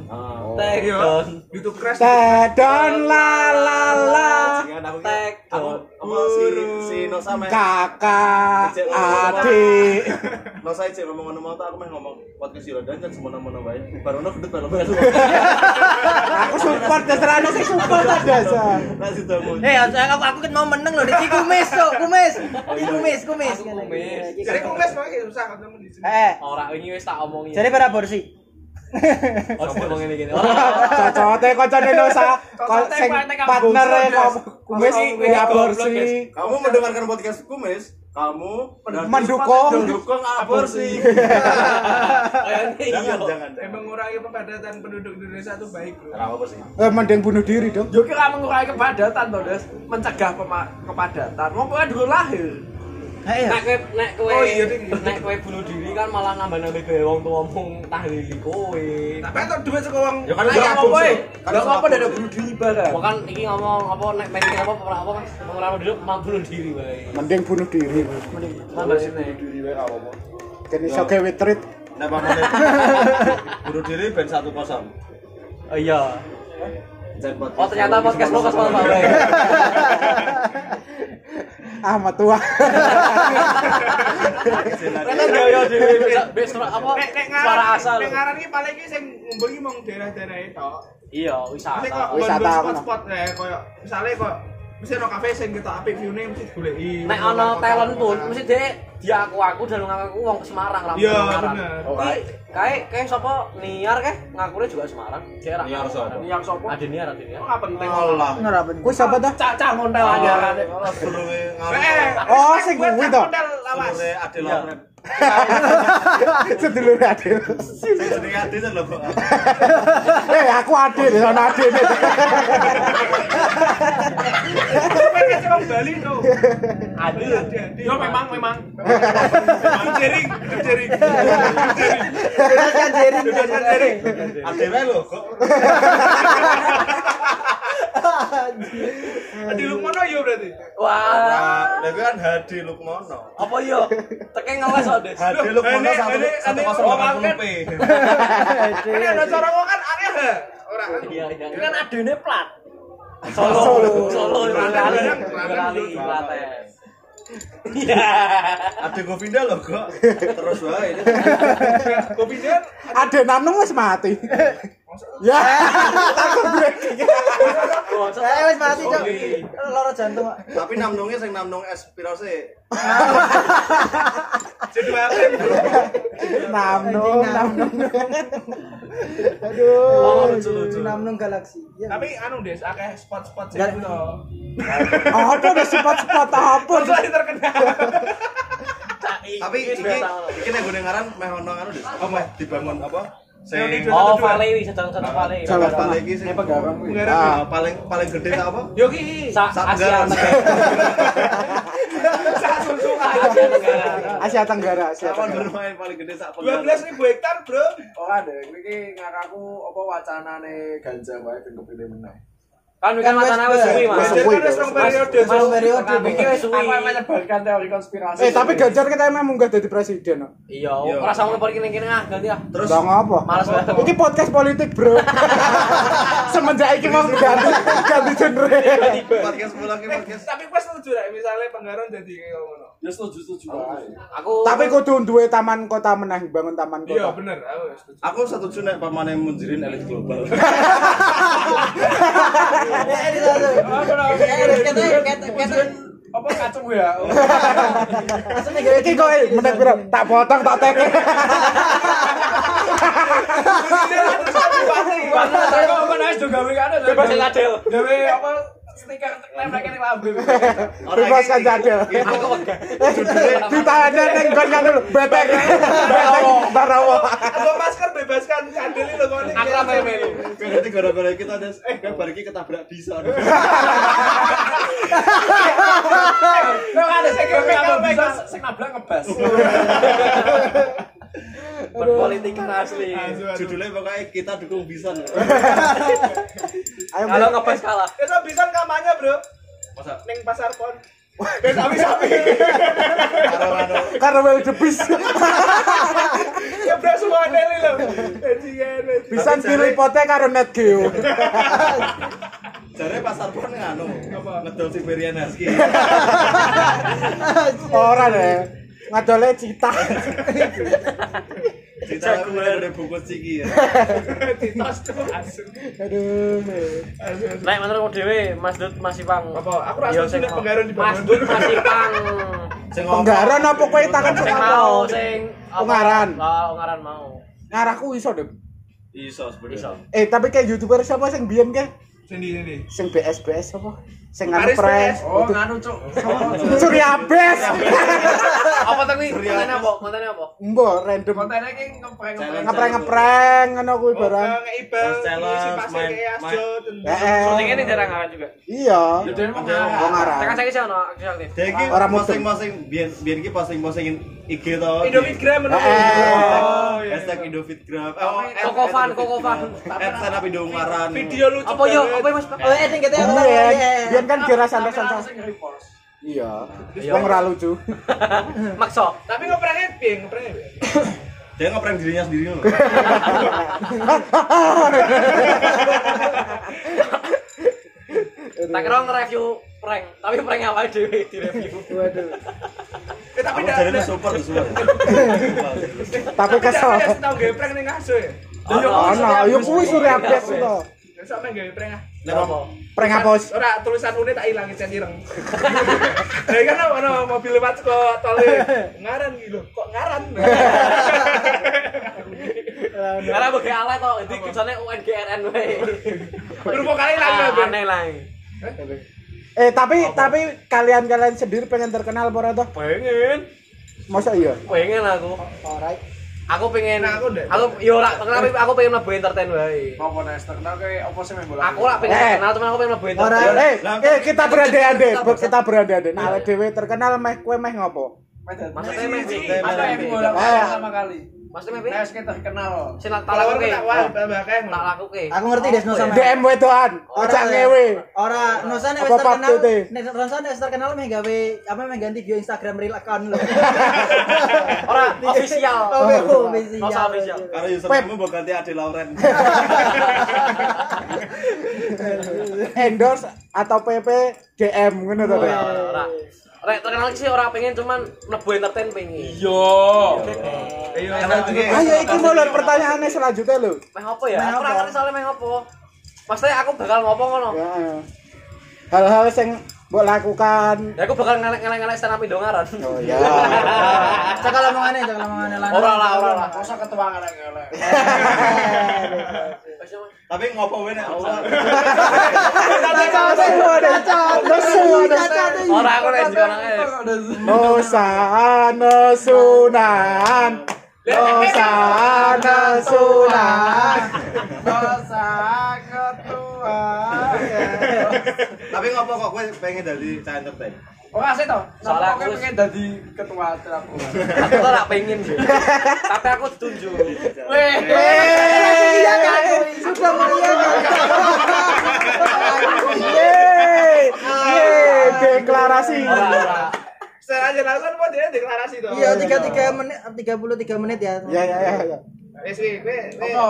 Take
Iya.
down.
YouTube crash.
Tedon la la la.
Jangan aku
Take
aku
down.
apa si si Nosa meh
Kakak adik.
Nosa ijek ngomong ngono mau tak aku meh ngomong podcast Yola dan semua nama wae. Barono gedhe baru.
*laughs* Aku support terserah ana sing support ta dasar.
Nasi tamu.
eh aku aku, aku kan mau menang loh iki kumis tuh kumis
Oh,
iki kumis kumis
kumis.
Jadi kumis makanya susah ketemu di sini.
eh
Ora wingi wis tak omongi.
jadi para borsi
Ojo ngomong ngene gini. Ora.
Cocote kocone Nosa, ko-
Cocote
sing
kote kamu
partnere kok kumis
Kamu
ya
goblok,
aborsi.
guys.
Kamu mendengarkan podcast Kumis, kamu
Mendukung.
mendukung aborsi.
Kayane iya.
jangan, jangan.
Dan mengurangi kepadatan penduduk Indonesia itu baik loh.
Kenapa apa sih?
Eh mending bunuh diri dong.
Yo kira mengurangi kepadatan to, Des. Mencegah pema- kepadatan. Wong kowe dulu lahir.
eh ya
Nek kowe nek kowe
Oh, iya, Ding.
nek kowe bunuh diri kan malah nambah-nambah gawe wong tuwa mung tahlili kowe.
Tapi itu duit suka uang.
Ya kan
Lah
udah
ya
aku
apa kowe?
sih.
Lah apa ada bunuh diri barang?
Bukan iki ngomong apa nek pengen apa pemerah apa Mas? Pemerah hidup mampu bunuh diri wae.
Mending bunuh diri.
Tambah sini.
Kene iso gawe treat.
Nah, Pak Mane. Bunuh diri band 10.
Oh iya.
Jan podcast.
Oh ternyata podcast lo kesel Pak Bay.
Ah matua.
Ternyata yo yo dhewe besok apa
Nek nek
suara
ngaran,
asal.
nek ngaran ini paling ini sing ngumpulin mau daerah-daerah e, itu.
Iya,
Mesti kok
Wisata,
wisata.
wisata
apa?
spot-spot ya, koyo misalnya kok mesti ono kafe sing ketok apik view-ne mesti digoleki.
Nek ana talent pun mesti dhek diaku-aku dan ngaku wong ke Semarang lah.
Iya,
Semarang.
bener.
Kae kae kae sapa niar kae ngakune juga Semarang. Kae ra.
Niar sapa?
Niar.
Yang sopo?
Ada niar, ada niar. Ah.
Kok nggak penting.
Oh,
Allah.
ora ben
Kuwi sapa ta?
Cak-cak ngontel aja kan.
Allah sebelumnya
Eh,
ngaruh.
Oh,
respect
sing
buat
kuwi
Kak
to.
Model, Lawas.
Sebelumnya Adil Lawan.
*laughs* Sedulur adil.
Saya sendiri Adil kan lho kok.
Eh aku adil, ono adil.
Sampai ke Cebong Bali tuh.
*laughs*
Adil.
Jadi,
Yo memang memang.
*laughs* Memang jering, jering.
kan jeri
Adilnya lho kok.
Di Lukmono yo berarti.
Wah.
Ah, Lah gue kan HD Lukmono.
Apa *laughs* yo? Teke ngeles kok, Des.
HD Lukmono
ini-
satu
ini-
satu
ini
kosong delapan
orang kan-
puluh p.
Iya,
Ini ada cara kok kan aneh ha. Ora.
Iya, iya.
Ini kan adene plat.
Solo, Solo, Kali,
Kali,
Kali, Klaten.
Ada Govinda loh kok. Terus wae.
Govinda
Adil nanung wis mati.
*laughs*
Ya. Aku breaking.
saya Eh, wis mati cok loro jantung Pak.
Tapi namnungnya sing namnung es piro sih?
jadwal apa?
Namnung, namnung.
Oh,
Aduh.
lucu, lucu.
namnung galaksi ya
Tapi anu Des, akeh spot-spot sing
Gak-
itu.
Ada udah spot-spot apa?
Masalah terkenal.
Tapi iki iki nek gue ngaran meh ono anu Des. Apa meh dibangun apa? Sing
Oh, Valewi, sedang satu Valewi.
Coba.
paling iki sing
Negara.
Ah, paling paling gede tak apa?
Yo ki.
Sa Asia
Satgas.
Tenggara.
Sak susu
Asia Tenggara.
Asia Tenggara, Asia
Kapan
Tenggara.
bermain paling gede sak
dua belas ribu hektar bro
Ora deh, iki ngakaku apa wacanane ganja wae ben kepilih meneh.
Kan kan matane wis suwi, Mas.
Suwi,
Ganjar kan
Bro.
wis rong periode
Mas,
Mas, periode.
kan Iki wis suwi.
Aku yang menyebarkan teori konspirasi.
Eh tapi Ganjar kita emang munggah jadi presiden. no.
Iya, ora sama ngepor kene-kene ah, ganti ah.
Terus
Lah
Oh,
ngapa?
Males banget.
*laughs* Iki podcast politik, Bro. semenjak iki mau ganti ganti genre.
podcast mulai podcast tapi gue setuju lah misalnya penggaron jadi kayak ngono
Ya setuju setuju.
Aku
Tapi kudu duwe taman kota menang bangun taman
iya
kota.
bener aku setuju
Aku setuju nek pamane munjirin elit global.
Eh,
apa kacung ya
Iki kok eh, menit piro? Tak potong tak tek.
kok apa nais juga gawe kan bebas
Adel.
gawe apa oh, stiker lembrek ini lambe
Bebaskan cadel. Ditahan Eh, ning gon kan dulu. Betek. Betek barawo.
*laughs* apa masker bebaskan kandel ini lho kok ini
Akrab ya, Mel.
Berarti gara-gara kita ada eh kabar iki ketabrak bisa.
Lah, kan ada sing gawe apa bisa sing nabrak ngebas
Berpolitikan asli.
Judulnya pokoknya kita dukung bisa.
Ayo.
Kalau ngepas kalah.
itu bisa kampanye bro
Masa?
neng pasar pon ben sapi-sapi
Karena well *laughs* debis.
ya bro semua ini lho jadi kan
Bisa pilih pote karo net *laughs* geo.
Jare pasar pon nganu. Ngedol Siberian Husky.
Ora deh. Ngadole cita. *laughs*
Cita aku udah bungkus ciki ya.
ditos kan, tuh asem
Aduh.
Nek menurutmu dhewe Mas Dut Mas Ipang.
Apa? Aku rasa
Yo,
sih
sing
nek penggaron dibangun.
Mas Dut Mas Ipang.
Sing
Penggaran apa kowe kan
Kan
tangan
Sing
sekali?
mau sing apa?
Ungaran.
Lah, ungaran
*laughs*
mau.
Ngarahku iso deh.
iso
Iso.
sebenarnya.
Eh tapi kayak youtuber siapa sing biyen ke?
sini sini
Sing BSBS apa? Sing anu
Aris
pres.
oh
Itu-
nganu cuk
Surya Bes.
Apa tapi kontennya apa? Kontennya apa?
Mbok random
kontennya ki ngeprank
Challenge.
ngeprank-ngeprank ngono kuwi barang.
ngeibal
Mas Challenge,
ngisi pasir
main-
kayak
main-
asjot
Heeh.
Syutingnya ini jarang kan juga.
Iya.
dan mau
Wong
Tekan
arah.
saya sih ono aksi aktif.
Deki
Orang mudeng.
posting-posting biar biar ki posting-postingin IG to.
Indomigram
Heeh.
Oh, iya,
Hashtag Oh,
iya.
Indofitgram.
Kokovan, Kokovan.
At stand up Indo Ungaran.
video lucu
Apa yo? Apa
banget.
Mas? Pak?
Oh, eh sing kete apa?
Biyen,
Iya.
biyen kan dirasan
Tapi langsung
rasan
nge-repost.
Iya. Wong ora lucu.
Makso.
tapi ngepranknya piye ngepranknya piye?
Dia ngeprank dirinya sendiri loh.
Tak kira nge-review prank, tapi prank awal dhewe direview.
Eh, tapi
Aku
ndak-
jadi
ndak-
super
*laughs*
super.
Tapi kesel.
ndak- ndak tau gawe prank ning ngaso ya
Ah, Iya.
Ana, yo kuwi Surya Bes to.
Ya, sampe gawe prank ah
Nek apa?
Prank hapus.
Ora tulisan une tak ilangi cen ireng. *laughs* Lah kan ono mobil lewat kok tole ngaran iki lho, kok ngaran. Iya.
Karena bagi alat kok, jadi tulisannya UNGRN wae.
Berupa kali lagi
Ah,
lho, Ben.
Aneh lagi.
Eh tapi tapi kalian-kalian sendiri pengen terkenal apa ora to?
Pengen,
Masa iya?
pengen aku.
Alright.
Aku pengen,
Nah, aku
aku,
ndak.
yo ora terkenal, tapi aku pengen mlebu entertain wae.
Apa nek terkenal kayak apa sih main bola?
Aku ora
Eh.
pengen terkenal, cuman aku pengen mlebu
Ora
entertain.
eh
Lah,
eh kita berandai-andai,
kita-
kita berandai-andai. Nah, awake dhewe terkenal meh kowe meh ngopo?
Maksudnya meh,
Apa yang bola
Eh.
sama kali?
Oh. maksudnya meh,
Nek kita terkenal.
sing tak
Kalau
lakuke.
kita wah, bakal
Tak lakuke. ya?
Aku ngerti Desno sama.
DM wedoan,
Ora
ojak ngewe.
Ora nosane wis
Apa
terkenal.
patute?
Nek nosane wis terkenal meh gawe apa meh ganti bio Instagram real account lho.
Ora official.
*laughs* Oh, oh, official.
Nosa official.
Karena username mau ganti Ade Lauren.
endorse atau PP DM ngono to. Dek?
Ora, ora. Rek terkenal iki sih ora pengen cuman mlebu entertain pengen.
Yo. Ayo.
Ayo iki mau lho pertanyaannya selanjutnya lho.
Meh apa ya?
Meh
Aku ora
apa?
ngerti soalnya meh apa. Maksudnya aku bakal ngopo ngono.
Iya.
Ya, ya. Hal-hal sing mbok lakukan.
Ya aku bakal ngelek-ngelek stand up Indo ngaran.
Oh
iya.
ya.
Cakal omongane, cakal omongane lan.
Ora lah, ora lah.
Masa ketua ngarang-ngarang.
Tapi ngopo wae nek ora.
Cacat lu ada cacat.
*laughs* Ora aku nek di kono ae.
Osana sunan. Osana sunan.
Dosa ketua.
Tapi ngopo kok gue pengen jadi cah entertain.
Oh, asik to.
Soalnya
Soalnya aku
aku-
pengen dadi ketua aku.
Aku tuh ora pengen sih. Tapi aku tunjuk.
Weh.
Eh.
Iya kan, sudah meriah.
Yeay. Yeay, deklarasi.
Ora ora.
Secara langsung mau dia deklarasi to.
Iya, 33 menit 33 menit ya.
Ya ya ya. ya.
Wis wis, wis. Apa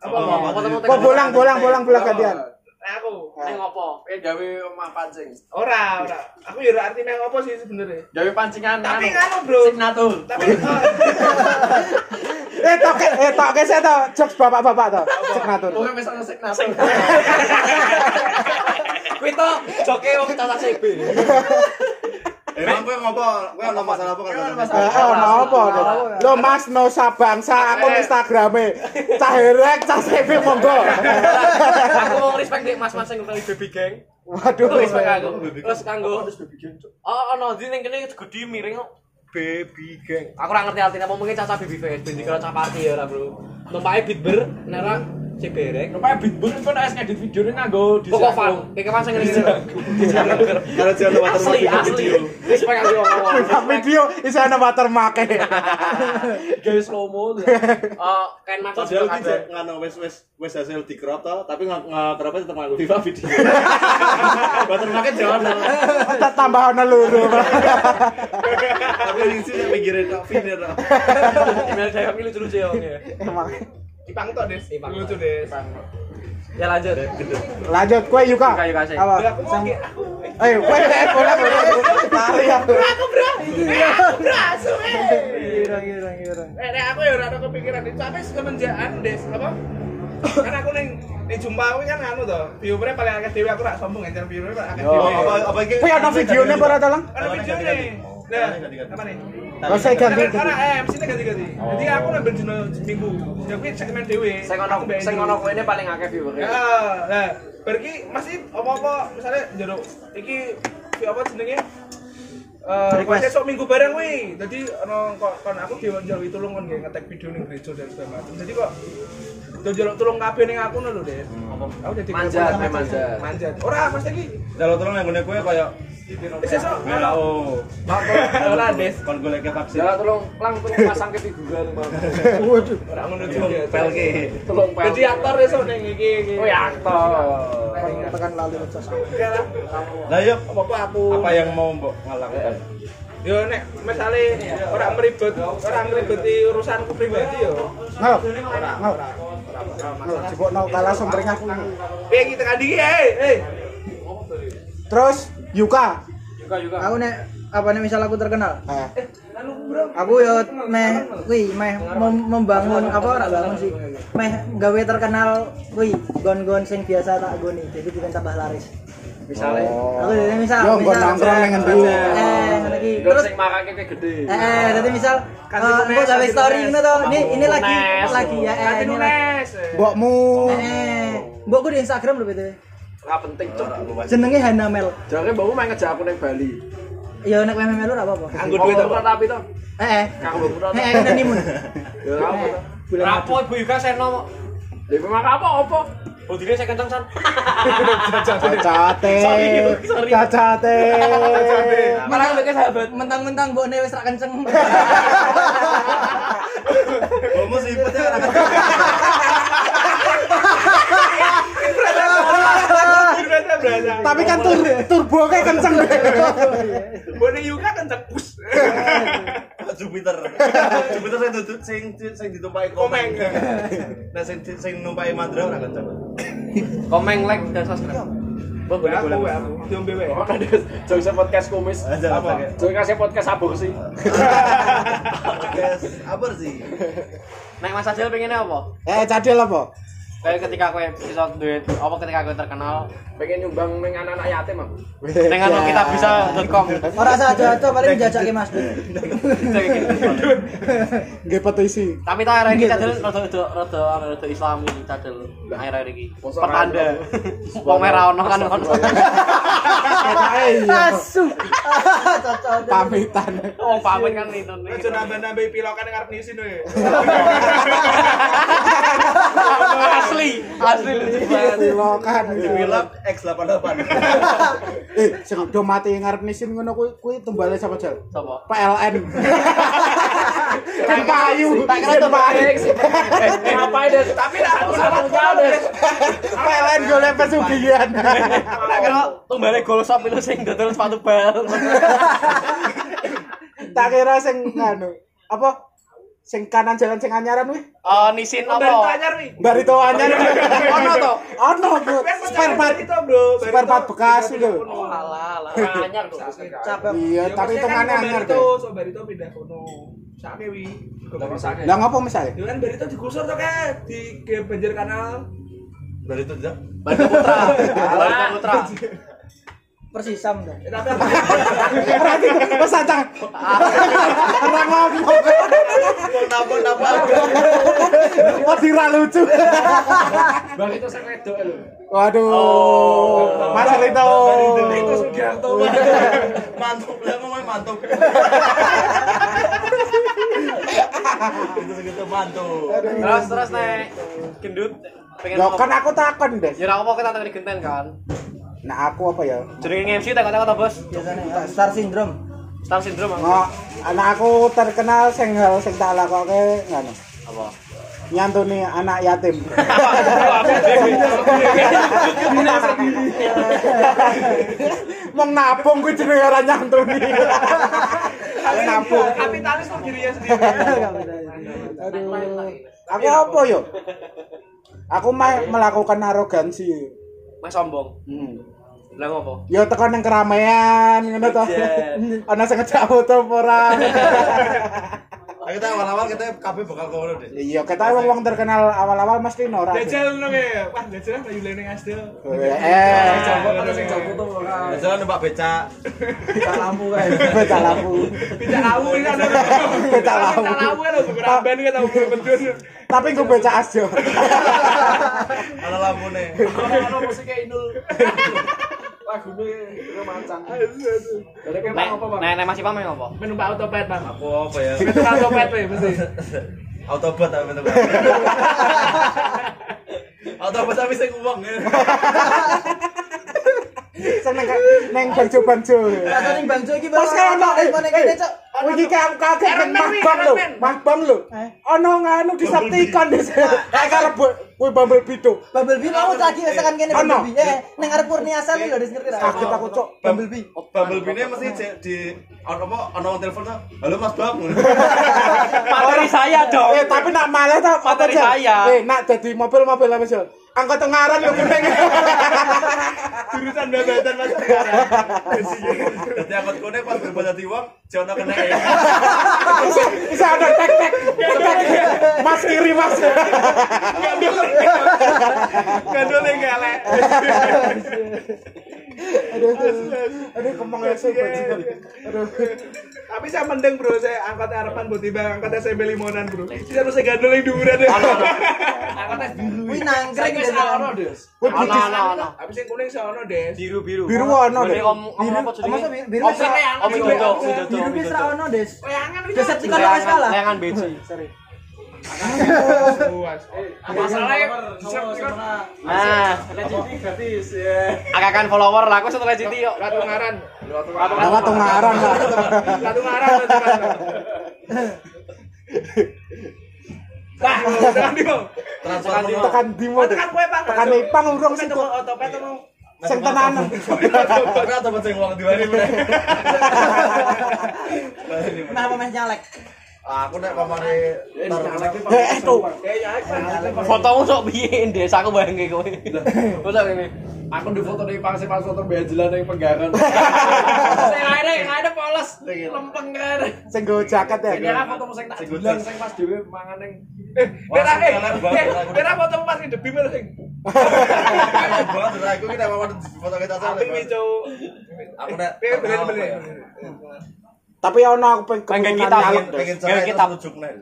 Apa, apa, apa, apa,
Kok Oh, bolang bolang bolang bolang gantian.
Nah, aku.
Neng opo?
Eh gawe omah pancing.
Ora, ora. Aku ya ora arti meh apa sih sebenarnya.
Gawe pancingan.
Tapi
anu,
nganu, Bro.
Signatur.
Tapi oh,
Eh tok eh tok kese to jokes bapak-bapak to. Cek ngatur.
Pokoke wis ana signatur. Kuwi to joke wong caca CB.
Emang Eh, kowe ngopo? Kowe ono masalah apa kan?
Emang masalah.
Eh, oh, no apa no. Lo Mas Nosa Bangsa akun Instagrame. Cah herek, cah CV monggo.
Aku mau respect dek mas-mas sing ngerti baby gang.
Waduh.
Aku respect aku. Terus kanggo Oh ono di ning kene gede miring kok. Baby gang. Aku ora ngerti artinya apa mungkin caca baby face ben dikira caca party ya ora, Bro. Numpake beatber nek ora cek berek.
Rupanya bitbun pun harus ngedit video ini nganggo di
Pokok fan, kayak kemasan ngene.
Kalau jalan water
Asli, asli. Respect aku ngomong.
Nah, video isane watermark.
guys slow mo
Oh, kain mas
Padahal ki jek ngono wis wis wis hasil di crop to, tapi nge-crop tetep nganggo FIFA video. Watermark-e jalan.
Tak tambah ono loro.
Tapi yang sini yang pinggirin tok pinir tok.
Email saya kami lucu-lucu ya. Om, ya.
Emang.
Ipang tok, Des.
Ipang.
Lucu, Des.
Ya lanjut.
Lanjut kue Yuka.
Yuka, Yuka, sih.
Apa?
Aku mau ki- aku. eh,
Eh, kue eh, bolang bolang. Lari aku.
Aku, Bro. Eh, Aku, Bro. asu, eh.
Ireng ireng ireng.
Nek nek aku ya ora ada kepikiran itu tapi semenjak anu Des, apa? Kan aku ning di jumpa aku kan anu to, viewernya paling akeh dhewe aku ora sombong encer viewernya paling akeh dhewe.
Apa apa iki?
Kue ono videonya apa ora tolong?
Ada video nih. Nah, apa nih?
Oh, saya ganti.
Karena karena eh mesti ganti-ganti. Jadi aku ngambil dino minggu. Ya kuwi cek men dhewe.
Sing ono
Aku mbek
sing
dhewe.
ono kuene paling akeh viewer. ya.
Ah, Nah, pergi masih apa-apa misalnya jero iki si apa jenenge? Eh,
Request.
esok minggu bareng kuwi. Dadi ono kon kon aku diwonjol iki tulung kon nggih ngetek video ning gereja dan segala macam. Jadi kok do njaluk tulung kabeh ning aku ngono lho, Des. Aku dadi
Manjat,
kaya-
eh, manjat.
Manjat. Ora, mesti iki
Jalan terus nang ngene kowe koyo
esok
WHO.
Ora, Des.
Kon golek ke vaksin.
Ya tolong lang tolong pasang ke figuran, Bang.
Ora ngono
Jung,
juga.
Pelke.
Tolong pel.
Jadi aktor esok ning iki. iki.
Oh, ya aktor.
Tekan lali ngecas.
Enggak lah.
Lah yuk,
Apa-apa aku.
apa yang mau mbok ngalakukan?
Yo nek misale ora meribet, ora meribeti urusanku pribadi yo.
Ngau. Ngau. Ngau. Jebok no kalah sombring aku.
Eh kita kan dikit, eh, eh.
Terus Yuka.
Aku nek apa nih misal aku terkenal,
Eh,
aku yo meh kuwi meh mem- membangun apa ora bangun sih. Meh gawe terkenal kuwi gon-gon sing biasa tak goni jadi bukan tambah laris. Oh. Aku jadi misal
Yo, nggon
misal-
nongkrong ning ngendi.
Eh, ngono iki.
Terus
Terus
sing makake kayak gede.
eh, eh jadi misal eh,
Kantin Nunes,
aku gawe
Kantin
story
Nunes.
ngono to. Ini ini lagi
Nunes.
lagi ya eh
Nanti
ini lagi.
nulis.
Mbokmu.
Eh, mbokku di Instagram lho BTW.
Ora penting, Cok.
Jenenge Hana Mel.
Jarane mbakmu main ngejak aku ning Bali.
Ya nek meh melu ora apa-apa.
Anggo duit ora tapi to.
Eh eh.
Kanggo pura
Eh eh ngene mun.
*laughs* Ya apa to.
rapo ibu Yuka seno
Ya memang apa opo?
bodine saya kenceng san
Cacate. Cacate.
Eh,
Malah mbek sahabat.
Mentang-mentang mbokne wis ra
*laughs*
kenceng.
Kamu sipet ya.
Berasa berasa.
Tapi kan tur turbo kayak kenceng.
Boleh juga kan tepus.
Jupiter. Jupiter sing duduk sing sing ditumpaki
Komeng.
komeng. Nah sing sing numpaki mandra ora kan coba.
Komen like dan subscribe. Mbok
Gue
boleh
aku,
boleh.
gue aku. Diombe wae.
Oh, ada Jogja podcast komis.
Apa?
Jogja podcast aborsi.
Guys, apa sih?
Nek Mas Adil pengennya apa?
Eh, cadel apa?
Kayak ketika aku bisa duit, apa ketika aku terkenal, pengen nyumbang neng anak-anak yatim aku. Dengan
Ya.
kita bisa.com.
Ora usah jatuh paling jajake Mas
*laughs*
Dut.
Nggih petisi.
Tapi tak akhir ini cadel rada rada rada rada islami cadel akhir-akhir ini. Pertanda. *laughs* Wong merah ono kan kon.
Eh, iya.
Asu. Cocok.
Pamitan.
*laughs* Wong pamit kan itu.
Aja nambah-nambah pilokan yang arep nisin wae.
Asli, asli lucu banget.
Silokan.
Dibilang X88.
Eh, sing do mati ngarep nisin ngono kuwi kuwi tumbale sapa jal?
Sopo?
*laughs* PLN. Kan payu.
Tak kira itu Pak Alex. Eh, eh, ngapain deh?
*laughs* Tapi lah aku salah
jauh deh.
PLN golek pesugihan. *laughs*
Aku tak kira tumbale gol sop itu sing dodol sepatu bal.
Tak kira sing nganu. Apa? sing kanan jalan sing anyaran wih.
Eh nisin
Dari
apa?
tanyar nih.
Barito anyaran. Ono to? Ono, Bu. Spare part.
itu bro.
Spare part bekas lho.
Alah, alah.
Banyak loh.
Cabang.
Iya, tapi hitungannya anyar
tuh.
deh.
So Barito kan pindah kono. Sake wi.
Lah ngopo *laughs* misalnya?
Yo kan Barito digusur tuh kayak di ke banjir kanal.
Dari itu jam.
Barito Putra. Barito Putra.
Persisam dah.
Eh, Tapi *laughs* apa?
Berarti wes acang. Ora ngomong.
Napa napa.
Wes ora lucu.
Bang itu saya wedok lho.
Waduh. Mas Rito.
Barito Sugiarto.
Mantap lah mau mantap. Itu segitu mantap.
Terus terus nek gendut pengen
Yo
ngomong.
kan aku takon deh.
Ya ora apa kita tak genten kan.
Nah aku apa ya?
Jenenge MC tak kata Bos.
Biasanya ah, star syndrome.
Star syndrome apa?
Ngo, anak aku terkenal sing hal sing tak lakoke ngono.
Apa?
Nyantuni anak yatim. Mong napung kuwi jenenge ora nyantuni. Napung.
Iya, Kapitalis tuh dirinya sendiri. *laughs*
Aduh. Aku apa yo? Aku mah melakukan arogansi.
Mas sombong.
Hmm.
Lah
*laughs*
ngopo?
Yo tekan nang keramaian ngono to.
Jen.
Ana sing ngejak foto apa ora.
Ayo kita awal-awal kita kabeh bakal kono deh.
Iya, kita wong wong terkenal awal-awal mesti norak.
Jajal nang ya. Wah, jajal Bayu Leneng Asdo.
Eh,
Kalau sing jago tuh
Nah, Jalan numpak becak.
Tak lampu kayak.
bocah lampu.
Pindah lawu ini kan. ada.
Becak lawu.
Becak lawu lho bukan amben kita tahu bendun.
Tapi gue baca asjo.
Ana lampune.
Ono musiknya Inul. Lagunya Inul Macan. Jadi kayak
Nek
apa Bang?
nek nek masih ya, pameng apa?
Menumpah otopet, Bang.
Aku apa ya?
Menumpah otopet weh mesti.
Autobot apa bentuk. Autobot tapi sing uang ya.
Seneng kan neng bangjo bangjo.
Rasanya nih Bang Jo iki
Pas kayak ono eh
mana
eh,
kene cok.
oh, iki kayak aku kaget neng mahbang lo, mahbang lo.
Eh.
Ono nganu disaktikan di sini. Kayak karebo, kue bumble bido.
Bumblebee mau lagi esekan kene
Ono.
Bumblebee. Eh, ning arep Kurnia asal lho wis ngerti ra.
Kaget aku cok.
Bumblebee. Bumblebee-ne mesti di- di ono apa ono wong telepon tuh. Halo Mas Bam.
Materi saya dong.
Eh tapi nak malah tak mata
Materi saya.
Eh nak jadi mobil mobil apa sih? Angkot tengaran lo kuning.
Jurusan babatan Mas.
Dadi aku kene pas berbuat dadi wong, jono kena ya.
Bisa ada tek tek tek tek. Mas kiri mas.
Gandole galek.
Aduh, aduh kemang ya sih. bajingan. Aduh.
Tapi saya mendeng bro, saya angkat harapan buat tiba angkat SMP limonan bro. Saya harus gandol yang ya. duren deh.
Kuwi nangkring
Wis
desa.
ono, Des.
Wih,
Ana
bijis.
ana ana.
Tapi saya kuning saya ono deh.
Biru-biru.
Biru ono deh.
Ini om om apa
Apa
jenenge?
sih biru
Om
wis ra-
ini, Om Widodo, Om Widodo,
biru
Om
wis ra
Widodo.
ono des.
Layangan kita.
Decepticon wis kalah.
Layangan Nah, beci. Nah.
Puas. ya,
Masalahnya
Decepticon
Nah, akakan follower lah aku setelah Citi yuk.
Ratu Ngaran. Ratu
Apa
Ngaran.
tungaran lah.
Ratu Ngaran. Nah, tekan dia.
Transparan
Tekan-
Bang.
Tekan dimo deh.
Tekan kue pak.
Tekan ipang urung sih kok.
Otopet mau.
Sing tenanan.
Karena teman sing uang diwani meneh. Diwani meneh.
Kenapa Mas nyalek?
Aku nek pamane tar
Eh eh, tuh.
Ya,
Fotomu sok piye Des aku bareng kowe. Kok sok ngene.
Aku di foto di pangsi pas foto bejelan yang penggaran.
Sing ae sing ae polos.
Lempeng kan.
Sing nggo jaket ya.
Iya.
Ya foto sing tak jelang sing pas dhewe mangan ning
Eh, merah
Wah,
eh.
sekarang banget.
eh, Merah potong pas di debi merah sing.
banget lah aku nek pamane foto kita salah.
Tapi wicu.
Aku nek
Eh, bener
terkenal
bener.
apa ya?
Tapi ya ono aku pengen
Pengen
keturunan
kita,
nyalek.
Bang.
pengen
Kayak
cerai
kita.
kita rujuk nek.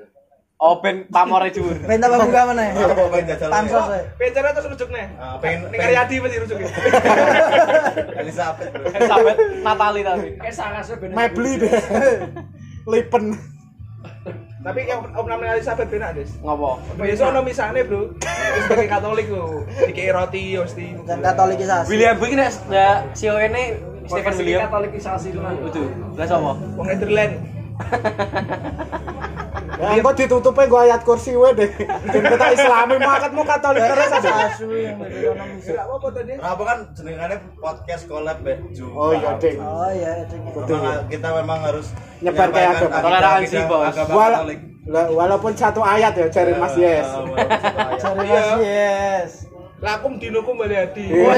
Oh ben pamore dhuwur.
Ben tambah buka mana ya?
Aku mau pengen jajal.
Pansos ya.
Pecara terus rujuk nih.
Ah, pengen-
Ning Karyadi pasti rujuk.
Elizabeth. bro.
Sampai Natali tapi.
kayak sarasnya bener.
Mebli deh. *laughs* Lipen.
Tapi yang Om Namel Elizabeth benar, Des.
Ngopo?
Besok ono misane, Bro. Wis sebagai Katolik lho. Dikei roti mesti.
Bukan katolikisasi.
William Boy nek ya sio kene Stephen
Stephen
William.
Katolikisasi itu kan.
Itu. Lah sapa?
Wong Netherland.
Ya
Iya.
engko ditutupe nggo ayat kursi we deh. Jen kita islami makatmu katolik terus aja.
Asu yang ekonomi.
Enggak apa-apa tadi.
Nah, apa kan jenengannya podcast collab ya juga.
Oh iya, Ding.
Oh iya, itu.
Memang kita memang harus
Nyebar kayak
menyampaikan
agama.
akidah-
Toleransi,
akidah-
Bos.
agama
Wala-
Katolik. Iya. Oh,
Lah, walaupun satu ayat ya cari Mas Yes. Iya. Cari Mas Yes.
Lakum dinukum bali hadi. Iya.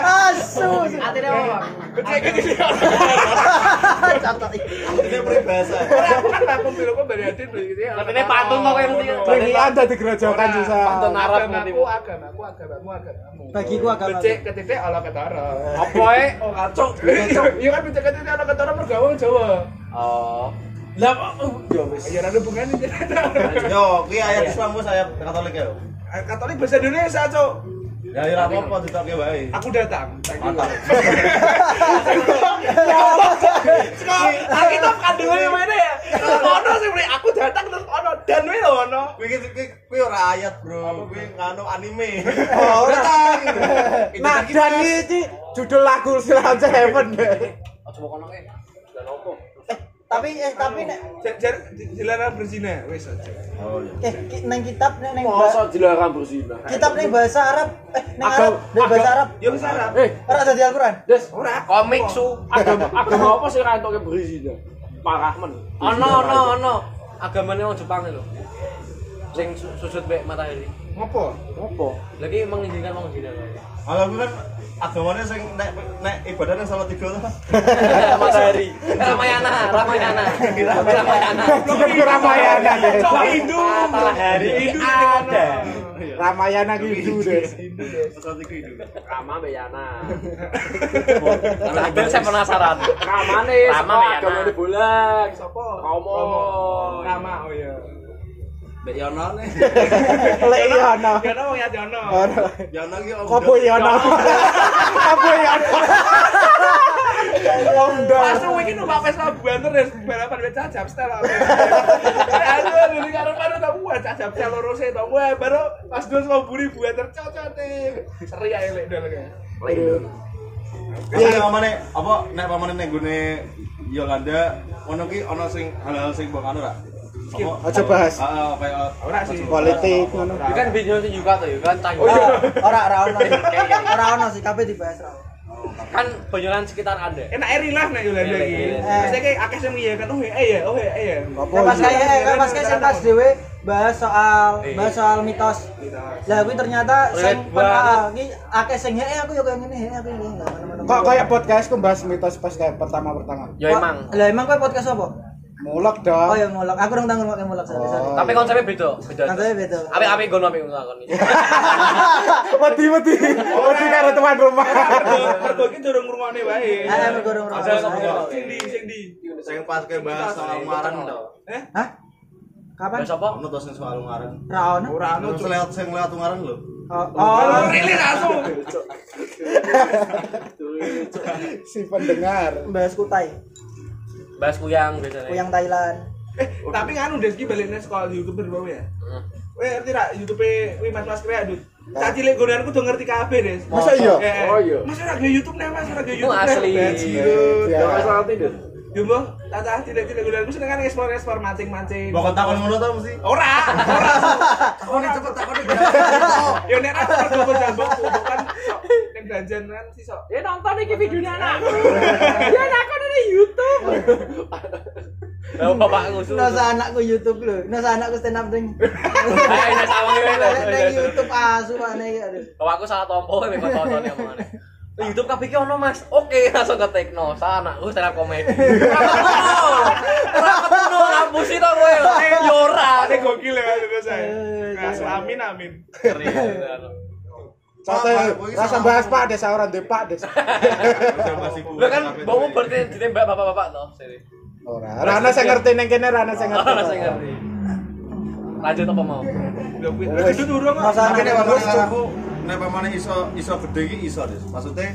Asus. Atene apa? Contoh.
Ini peribahasa.
Lakum dinukum bali hadi gitu ya.
Tapi ini patung kok yang mesti-
Peringilan dari gerajakan
Iya.
susah.
Pantun Arab nanti.
Agamaku, agamaku, agamamu, agamamu.
Bagiku agama.
Becik ketitik ala ketara.
Apa
eh?
e?
Oh kacau. Iya kan becik ketitik ala ketara pergawang Jawa.
Oh.
Ya ada hubungannya tidak.
Yo, kuwi
Iya.
ayat Islam wis ayat Katolik ya.
Katolik bahasa Indonesia, Cok.
Ya ora apa-apa ditokke wae.
Aku datang. Thank you.
Mantap.
*laughs* Nah, kita kandungannya mana ya? Terus ono sih, Bri. aku datang terus ono dan we lho ono.
Kuwi kuwi- kuwi- kuwi ora ayat, Bro. Kuwi nganu anime. *laughs* Oh, datang.
Nah, dan iki judul lagu Silahkan Heaven.
Tapi eh tapi nek
Jar- Jar dilarang berzina, wes aja.
eh ki- neng kitab nek neng
Masa dilarang berzina.
kitab ning bahasa Arab eh ning Arab
Agam-
ning bahasa Arab
Yo wis Arab.
Eh,
ora ada di Al-Qur'an.
Oh,
Des,
Ora.
komik su
agama agama apa sih ra entuk berzina? Pak Rahman.
ono ono ono agamanya orang Jepang lho sing su- sujud bek matahari
Ngopo?
Apa?
lagi mengizinkan orang Cina lho.
Kalau kuwi kan agamanya sing nek nek ibadah nang salat tiga tuh.
matahari Ramayana Ramayana Ramayana
Bukan ke Ramayana deh.
Cok Hindu.
matahari
Hindu ada.
Ramayana gitu deh.
Salat tiga itu.
Rama Beyana.
Tapi saya penasaran
Ramane
Rama
Rama
Beyana.
agama di bulan.
Sopo?
Romo.
Nama oh ya.
Mbak Yono nih.
Lek iya ono.
Ya ono ya ono.
Ono.
Yono ki om.
Kopo iya ono. Kopo iya ono. Ya, London.
Langsung iki numpak pes labuan terus balapan wis cacap setel. aku. Eh, Aduh, aduh, ini karo karo tak buat cacap setel loro sih tak buat. Baru pas dua sama buri buat tercocote. Seri ae lek dol kayak.
Iya, pamane apa nek pamane nek gone Yolanda ono ki ono sing hal-hal sing mbok anu ra. Apa? Ah,
Aja bahas.
Heeh, kaya
Ora sih.
Politik ngono.
itu kan video itu juga tuh kan tanya
Oh, Ora ora ono. Ora ono sih kabeh dibahas ora. ono.
kan banyolan sekitar anda
Enak eri lah nek Yolanda
Iya,
iki.
iya, iya.
Mesti kayak akeh sing ngiyakan oh eh ya, oh eh ya.
Kopo
Nah, pas
iya.
kayak eh, pas kayak sing pas
Iya.
dhewe bahas soal bahas soal mitos. Lah kuwi ternyata sing
Relate banget.
pernah iki akeh sing "Eh, aku yo koyo ngene, eh, aku yo koyo ngene.
Kok kayak podcastku bahas mitos pas kayak pertama-pertama.
ya emang
Lah emang kowe podcast apa?
Mulak
Oh
dong.
ya mulak. Aku dong tanggung pakai mulak sorry sorry.
Oh.
tapi konsepnya beda beda
Konsepnya beda.
ape ape gue nampil ngakon
Mati mati. Mati karo tuan rumah.
Mergo iki durung ngrungokne wae.
Ah, emang gorong rokok.
Sing di sing di.
sing pas ke bahas soal maran to.
Hah? Kapan?
bahasa apa
Ono to sing soal maran.
Ra ono.
Ora anu sing lewat sing lewat maran lho.
Oh, oh.
Rilis langsung.
Si pendengar.
bahas kutai,
bahas kuyang biasanya
kuyang Thailand.
Eh, tapi nganu Deski baliknya sekolah YouTuber bawa ya.
Hmm.
Weh ngerti ra YouTube weh Mas Mas Krea Dut. Cah cilik gonanku do ngerti kabeh, Des.
Masa iya?
Eh,
Oh, iya.
Mas ora gawe YouTube nih, Mas ora gawe YouTube.
asli.
Iya.
Jangan salah tidur.
Yo mbah, tata cilik-cilik gonanku seneng kan eksplor-eksplor mancing-mancing.
Mbok takon ngono to mesti.
Ora, ora.
Takone cepet takone.
*laughs*
Yo nek aku kok jambok kan sok ning danjan kan si sok.
Ya nonton iki videone
*laughs*
*laughs* anakku. Ya anakku di YouTube.
Lah, bapak ngusul
Nosa anakku YouTube lho, nosa anakku stand up
*laughs*
ding.
ayo ini sama ini
Nek YouTube ah, asu mana ya aduh.
Bapak aku salah tompo kan kok tonton yang mana. Di YouTube kabeh ki ono Mas. Oke, langsung ke Tekno. Sana aku stand up comedy. Ora ketemu kampus itu kowe. Yo ora.
Ate gokil ya terus saya. Nah, amin amin.
Sote rasa bahas Pak Des ora ndek Pak Des.
Lah kan bawa berarti ditembak bapak-bapak toh. Sini.
Ora. Ora ana sing ngerti ning kene ora ana sing ngerti.
Ora sing ngerti. Lanjut apa mau?
Lho kuwi terus itu durung kok.
Nosa
Tapi nek
anakku
pamane
terus
aku nek pamane iso iso gede iki iso Des. Maksude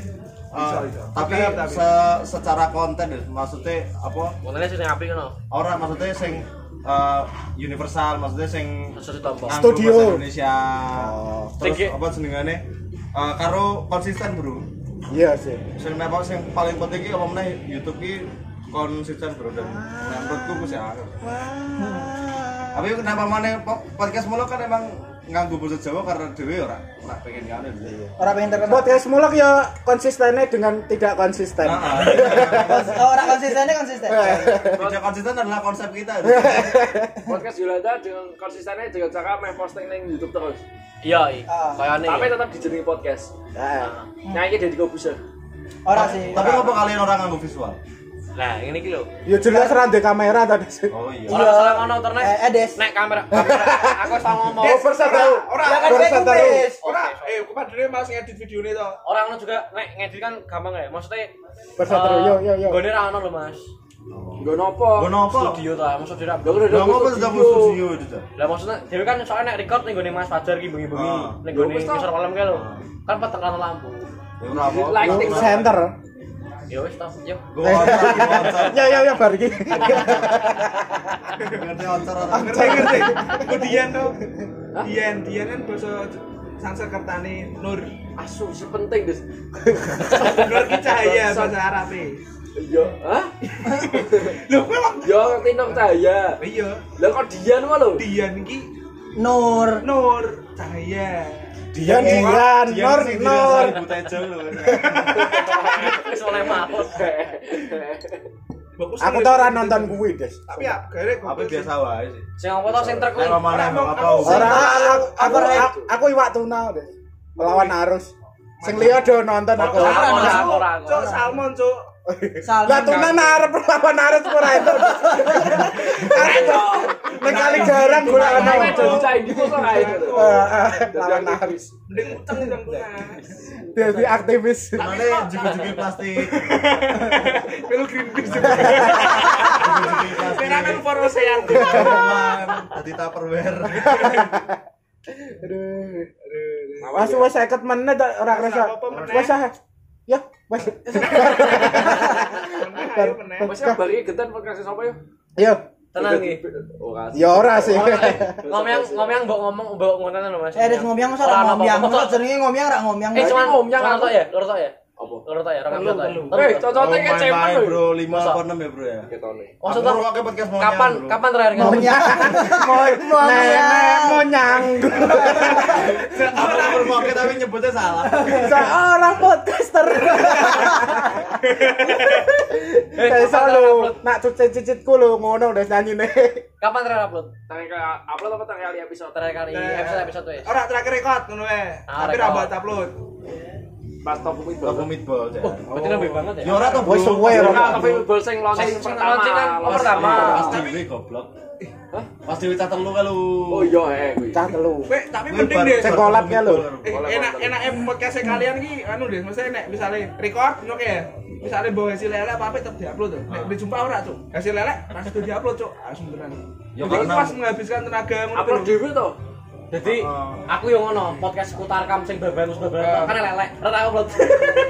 Iso,
eh,
iso.
tapi
Tapi-
se- secara konten Des, maksude apa
Mulane sing apik ngono.
ora maksudnya sing eh, universal maksudnya sing
Sesuatu tompo.
nganggo
Studio.
bahasa Indonesia
Oh.
terus
Sing-
apa jenengane Eh, karo konsisten bro
Iya sih.
sing apa sing paling penting iki apa meneh YouTube ki konsisten bro dan ya. nah, menurutku ku sih akeh. tapi kenapa mana po- podcast mulu kan emang nganggo basa Jawa karena dhewe ora ora pengen ngene.
Orang pengen terkenal.
Podcast mulak ya konsistennya dengan tidak konsisten.
Nah,
Oh, orang konsistennya konsisten.
tidak konsisten adalah konsep kita.
podcast Yolanda dengan konsistennya dengan cara main posting neng YouTube terus.
Iya, iya.
Ah.
Kayane.
Tapi tetap dijenengi podcast.
Nah,
Nah, ini dari Kobuser.
Orang sih.
Tapi apa kalian orang nganggo visual?
Nah, ngene iki lho.
ya jelas rande kamera tadi sih.
Oh iya.
Ora salah ngono internet.
Eh, eh, Des.
Nek kamera. kamera. Aku wis tau ngomong.
Oh, bersatu.
Ora,
Ya kan
Baru
kayak
sadar
gue,
lu.
Des.
ora. Eh, aku padahal mas ngedit video ini toh.
Orang ngono juga nek ngedit kan gampang ya. Maksudnya
Bersatu.
eh,
Yo, yo, yo.
Gone ra ono lho, Mas.
Gue nopo.
Gue nopo?
Studio ta, maksud dhewe.
Gue udah
Lah ngopo sudah mau studio itu? Cak?
Lah maksudnya dhewe kan soalnya nek record ning gone Mas Fajar ki bengi-bengi.
Ah.
Ning
Yo,
gone
wis toh.
ngisor kolam kae lho.
Ah.
Kan peteng kan lampu.
Ya, Ora apa.
Lighting
Center.
Ya wis toh, yo.
Gue oncer, gue oncer.
Ya, ya, ya, baru ini.
Ngerti oncer orang.
Ngerti ngerti. Aku Dian toh. Dian, Dian kan bahasa Sansekertane Nur.
Asu, sepenting des.
*laughs* Nur ki cahaya bahasa Arabe.
Iya, hah?
*laughs* Lho, kowe lho.
Yo ngerti nang cahaya.
Iya,
Lah kok Dian mah lho.
Dian ki
Nur.
Nur cahaya.
Dian, Dian, Nur, Nur.
Ibu Tejo lho. kan.
Wis oleh mawon.
Bagus
Aku tau orang nonton kuwi, Des.
Tapi ya, gara
Apa biasa wae sih.
Sing apa toh sing trek kuwi?
Nek romane
Ora,
apa?
aku-
Ora aku aku
Aku-
aku, aku iwak tuna, Des. Melawan arus. Sing liya do nonton aku.
Ora, ora, ora, ora.
Cok salmon, cok.
Salmon.
Lah tuna nak arep melawan arus ora itu. Nek kali garang ora
Nah,
ono.
ini jadi cahaya gitu kok kayak gitu.
Eh, eh, Lawan arus.
Mending utang utang lunas.
Dadi aktivis.
Mane jugi-jugi plastik.
Melu Greenpeace juga.
Jugi-jugi plastik.
Merah kan for ocean.
Tenggelam, Tadi tupperware. Oh,
Wes wes 50 menit ora kerasa.
apa-apa meneh.
Wes ah. Ya, wes. *laughs*
Meneh, ayo meneh.
Masih yang balik genten podcast sapa yo?
Yo.
Tenang iki.
Oh, kasih.
Ya ora sih.
Ngomong ngomong mbok ngomong mbok ngoten lho Mas.
Eh, Des ngomyang salah
Ora
ngomyang.
apa-apa.
Masa jenenge ngomyang ora ngomyang.
Eh,
Des.
cuman
ngomyang
ngomong
aku.
tok ya, loro tok ya.
Apa?
Loro tok ya, ora Oh, kabeh
Telu,
tok.
telu.
Tapi,
Eh, cocoknya kayak cemen
main-main
lho.
bro, lima apa enam ya bro ya.
Ketone.
Maksudnya
Aku ngerokoknya podcast monyang,
kapan
bro.
kapan terakhir
Mau
kali?
nyang. *laughs* Mau nenek mau nyanggu.
Aku ngerokoknya tapi nyebutnya salah.
Seorang podcaster.
Eh,
Kayak
kapan
solo.
terakhir upload?
Nak cucit-cucitku lho ngono udah nyanyi
Kapan terakhir upload?
Tanggal upload apa tanggal kali episode Eh,
Terakhir kali episode episode ya.
Ora terakhir record ngono wae.
Ah,
Tapi
record.
ra buat upload.
pas top kuwi
Aku
bol.
meatball Cak.
Berarti lebih banget ya.
Ya ora toh bro.
Wes suwe
Pas
ora.
Nah, tapi bol sing launching
Sing
pertama.
launching kan, oh,
Launching
pertama.
Pas dewe goblok.
Hah?
Pas dewe cah telu kae lu.
Oh iya eh kuwi.
Cah telu.
Kowe tapi mending deh.
Cek kolabnya lu.
Eh, enak enak em podcast kalian ki anu deh, maksudnya nek misale record ngono ya. Misale bawa hasil elek apa apa tetep diupload tuh. Nek dijumpa ora, Cuk. Hasil elek langsung tuh diupload, Cuk. Langsung tenan.
Ya,
Jadi
karena-
pas menghabiskan tenaga ngono.
Upload
tuh.
dhewe to.
Jadi
Eh.
aku yang ngono podcast seputar kam sing babar terus babar kan elek. Ora tak upload.
*laughs*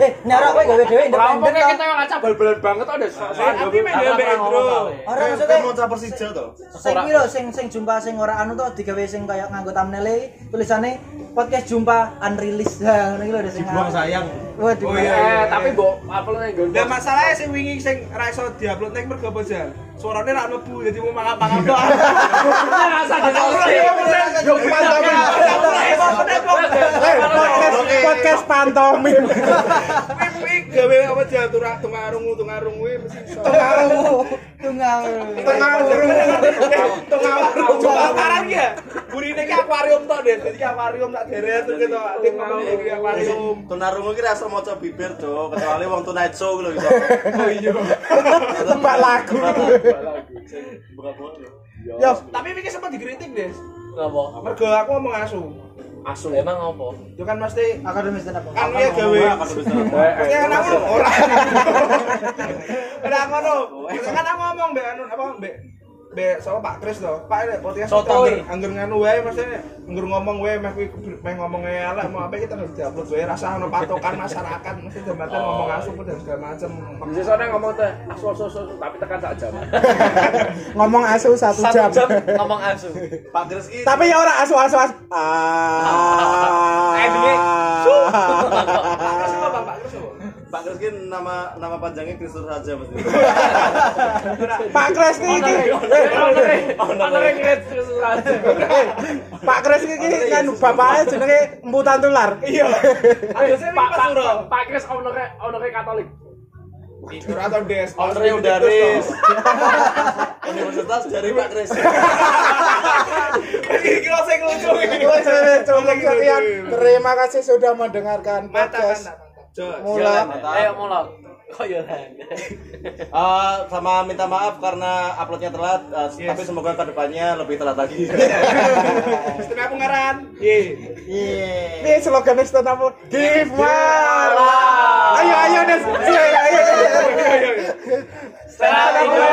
Eh, nek ora kowe gawe dhewe
Iya,
Lah
independen.
pokoknya
toh.
kita yang ngacak bal-balan banget ada soal
Tapi main
Aku
dhewe,
ora ngomong
Bro.
Eh,
tau, ya.
Ora
Kayak-
maksudnya
kayak mau cah Persija toh.
sing iki lho sing sing jumpa sing ora anu toh digawe sing kayak nganggo thumbnail e, tulisane podcast jumpa unreleased. Ha, ngono iki lho Des, sing
Dibuang
nganggo.
sayang.
Wah, dibuang.
Oh, iya,
Eh, tapi mbok upload nang nggon.
Lah masalahnya sing wingi sing ra iso diupload nek mergo apa Jal? Suarane ra mlebu jadi mau mangap-mangap *laughs* tok.
rasa
Yo pantomim. Eh, podcast podcast pantomim.
Kuwi kuwi gawe apa Jal turah tungarung tungarung kuwi mesti *laughs* iso.
Tungau. Tungau.
Tengah urung.
*laughs* Tungarung kebakaran ki ya. Burine ki akuarium tok, Des. Jadi ki akuarium tak deret terus gitu. Ati mau iki akuarium.
Tunarungu ki rasa maca bibir Cuk, kecuali wong tunajo ku lho iso. *laughs* Oh iya.
Tebak lagu. Yo,
Tapi iki sempat dikritik, Des.
Ngopo?
Mergo aku ngomong asu.
Asu emang ngopo?
Yo kan mesti
Akademis stand up.
kan ya gawe Ya kan aku ora. *laughs* Ora ngono. Kan aku ngomong mbek anu apa mbek mbek sapa Pak Kris to. Pak ini podcast
Sotoy.
iya.
anggur- anggur nganu wae maksudnya anggur ngomong wae meh kuwi keber- meh ngomongnya elek mau apa kita harus diupload wae rasa ono patokan masyarakat mesti jembatan
Oh.
ngomong asu dan segala macam.
Bisa soalnya ngomong teh asu asu asu asu, tapi tekan sak jam.
ngomong asu satu
Satu
jam.
jam ngomong asu.
Pak Gres ki
Tapi ya ora asu asu Ah. asu. Ah.
Ah. Eh,
Eh,
Endingnya, *laughs*
Pak Kris apa Pak Kris apa?
Pak Kriskin nama nama panjangnya Kristus saja mesti.
Pak Kres ki iki. eh,
Honoring rate kesusahan.
eh, Pak Kres ki iki kan bapaknya jenenge Empu Tantular. Iya.
Pak Pak Pak- Pak Kris honore honore Katolik.
Curaton DS.
Honornya Undaris. Universitas dari Pak Kris.
*laughs* Iki lo sing lucu iki.
Cukup sekian. Terima kasih sudah mendengarkan
Mantap,
podcast.
mantap, mantap. Jos.
Mulai.
Ayo mulai. Eh, Kok ya Ren?
Eh, sama minta maaf karena uploadnya telat, eh, tapi semoga kedepannya lebih telat *laughs* lagi.
Sistem aku ngaran.
Iya.
Ye.
Ini slogan stand apa? Give
Iya,
Iya,
Iya,
Ayo ayo Des. Ayo ayo. ayo.
Salam. iya.
Iya,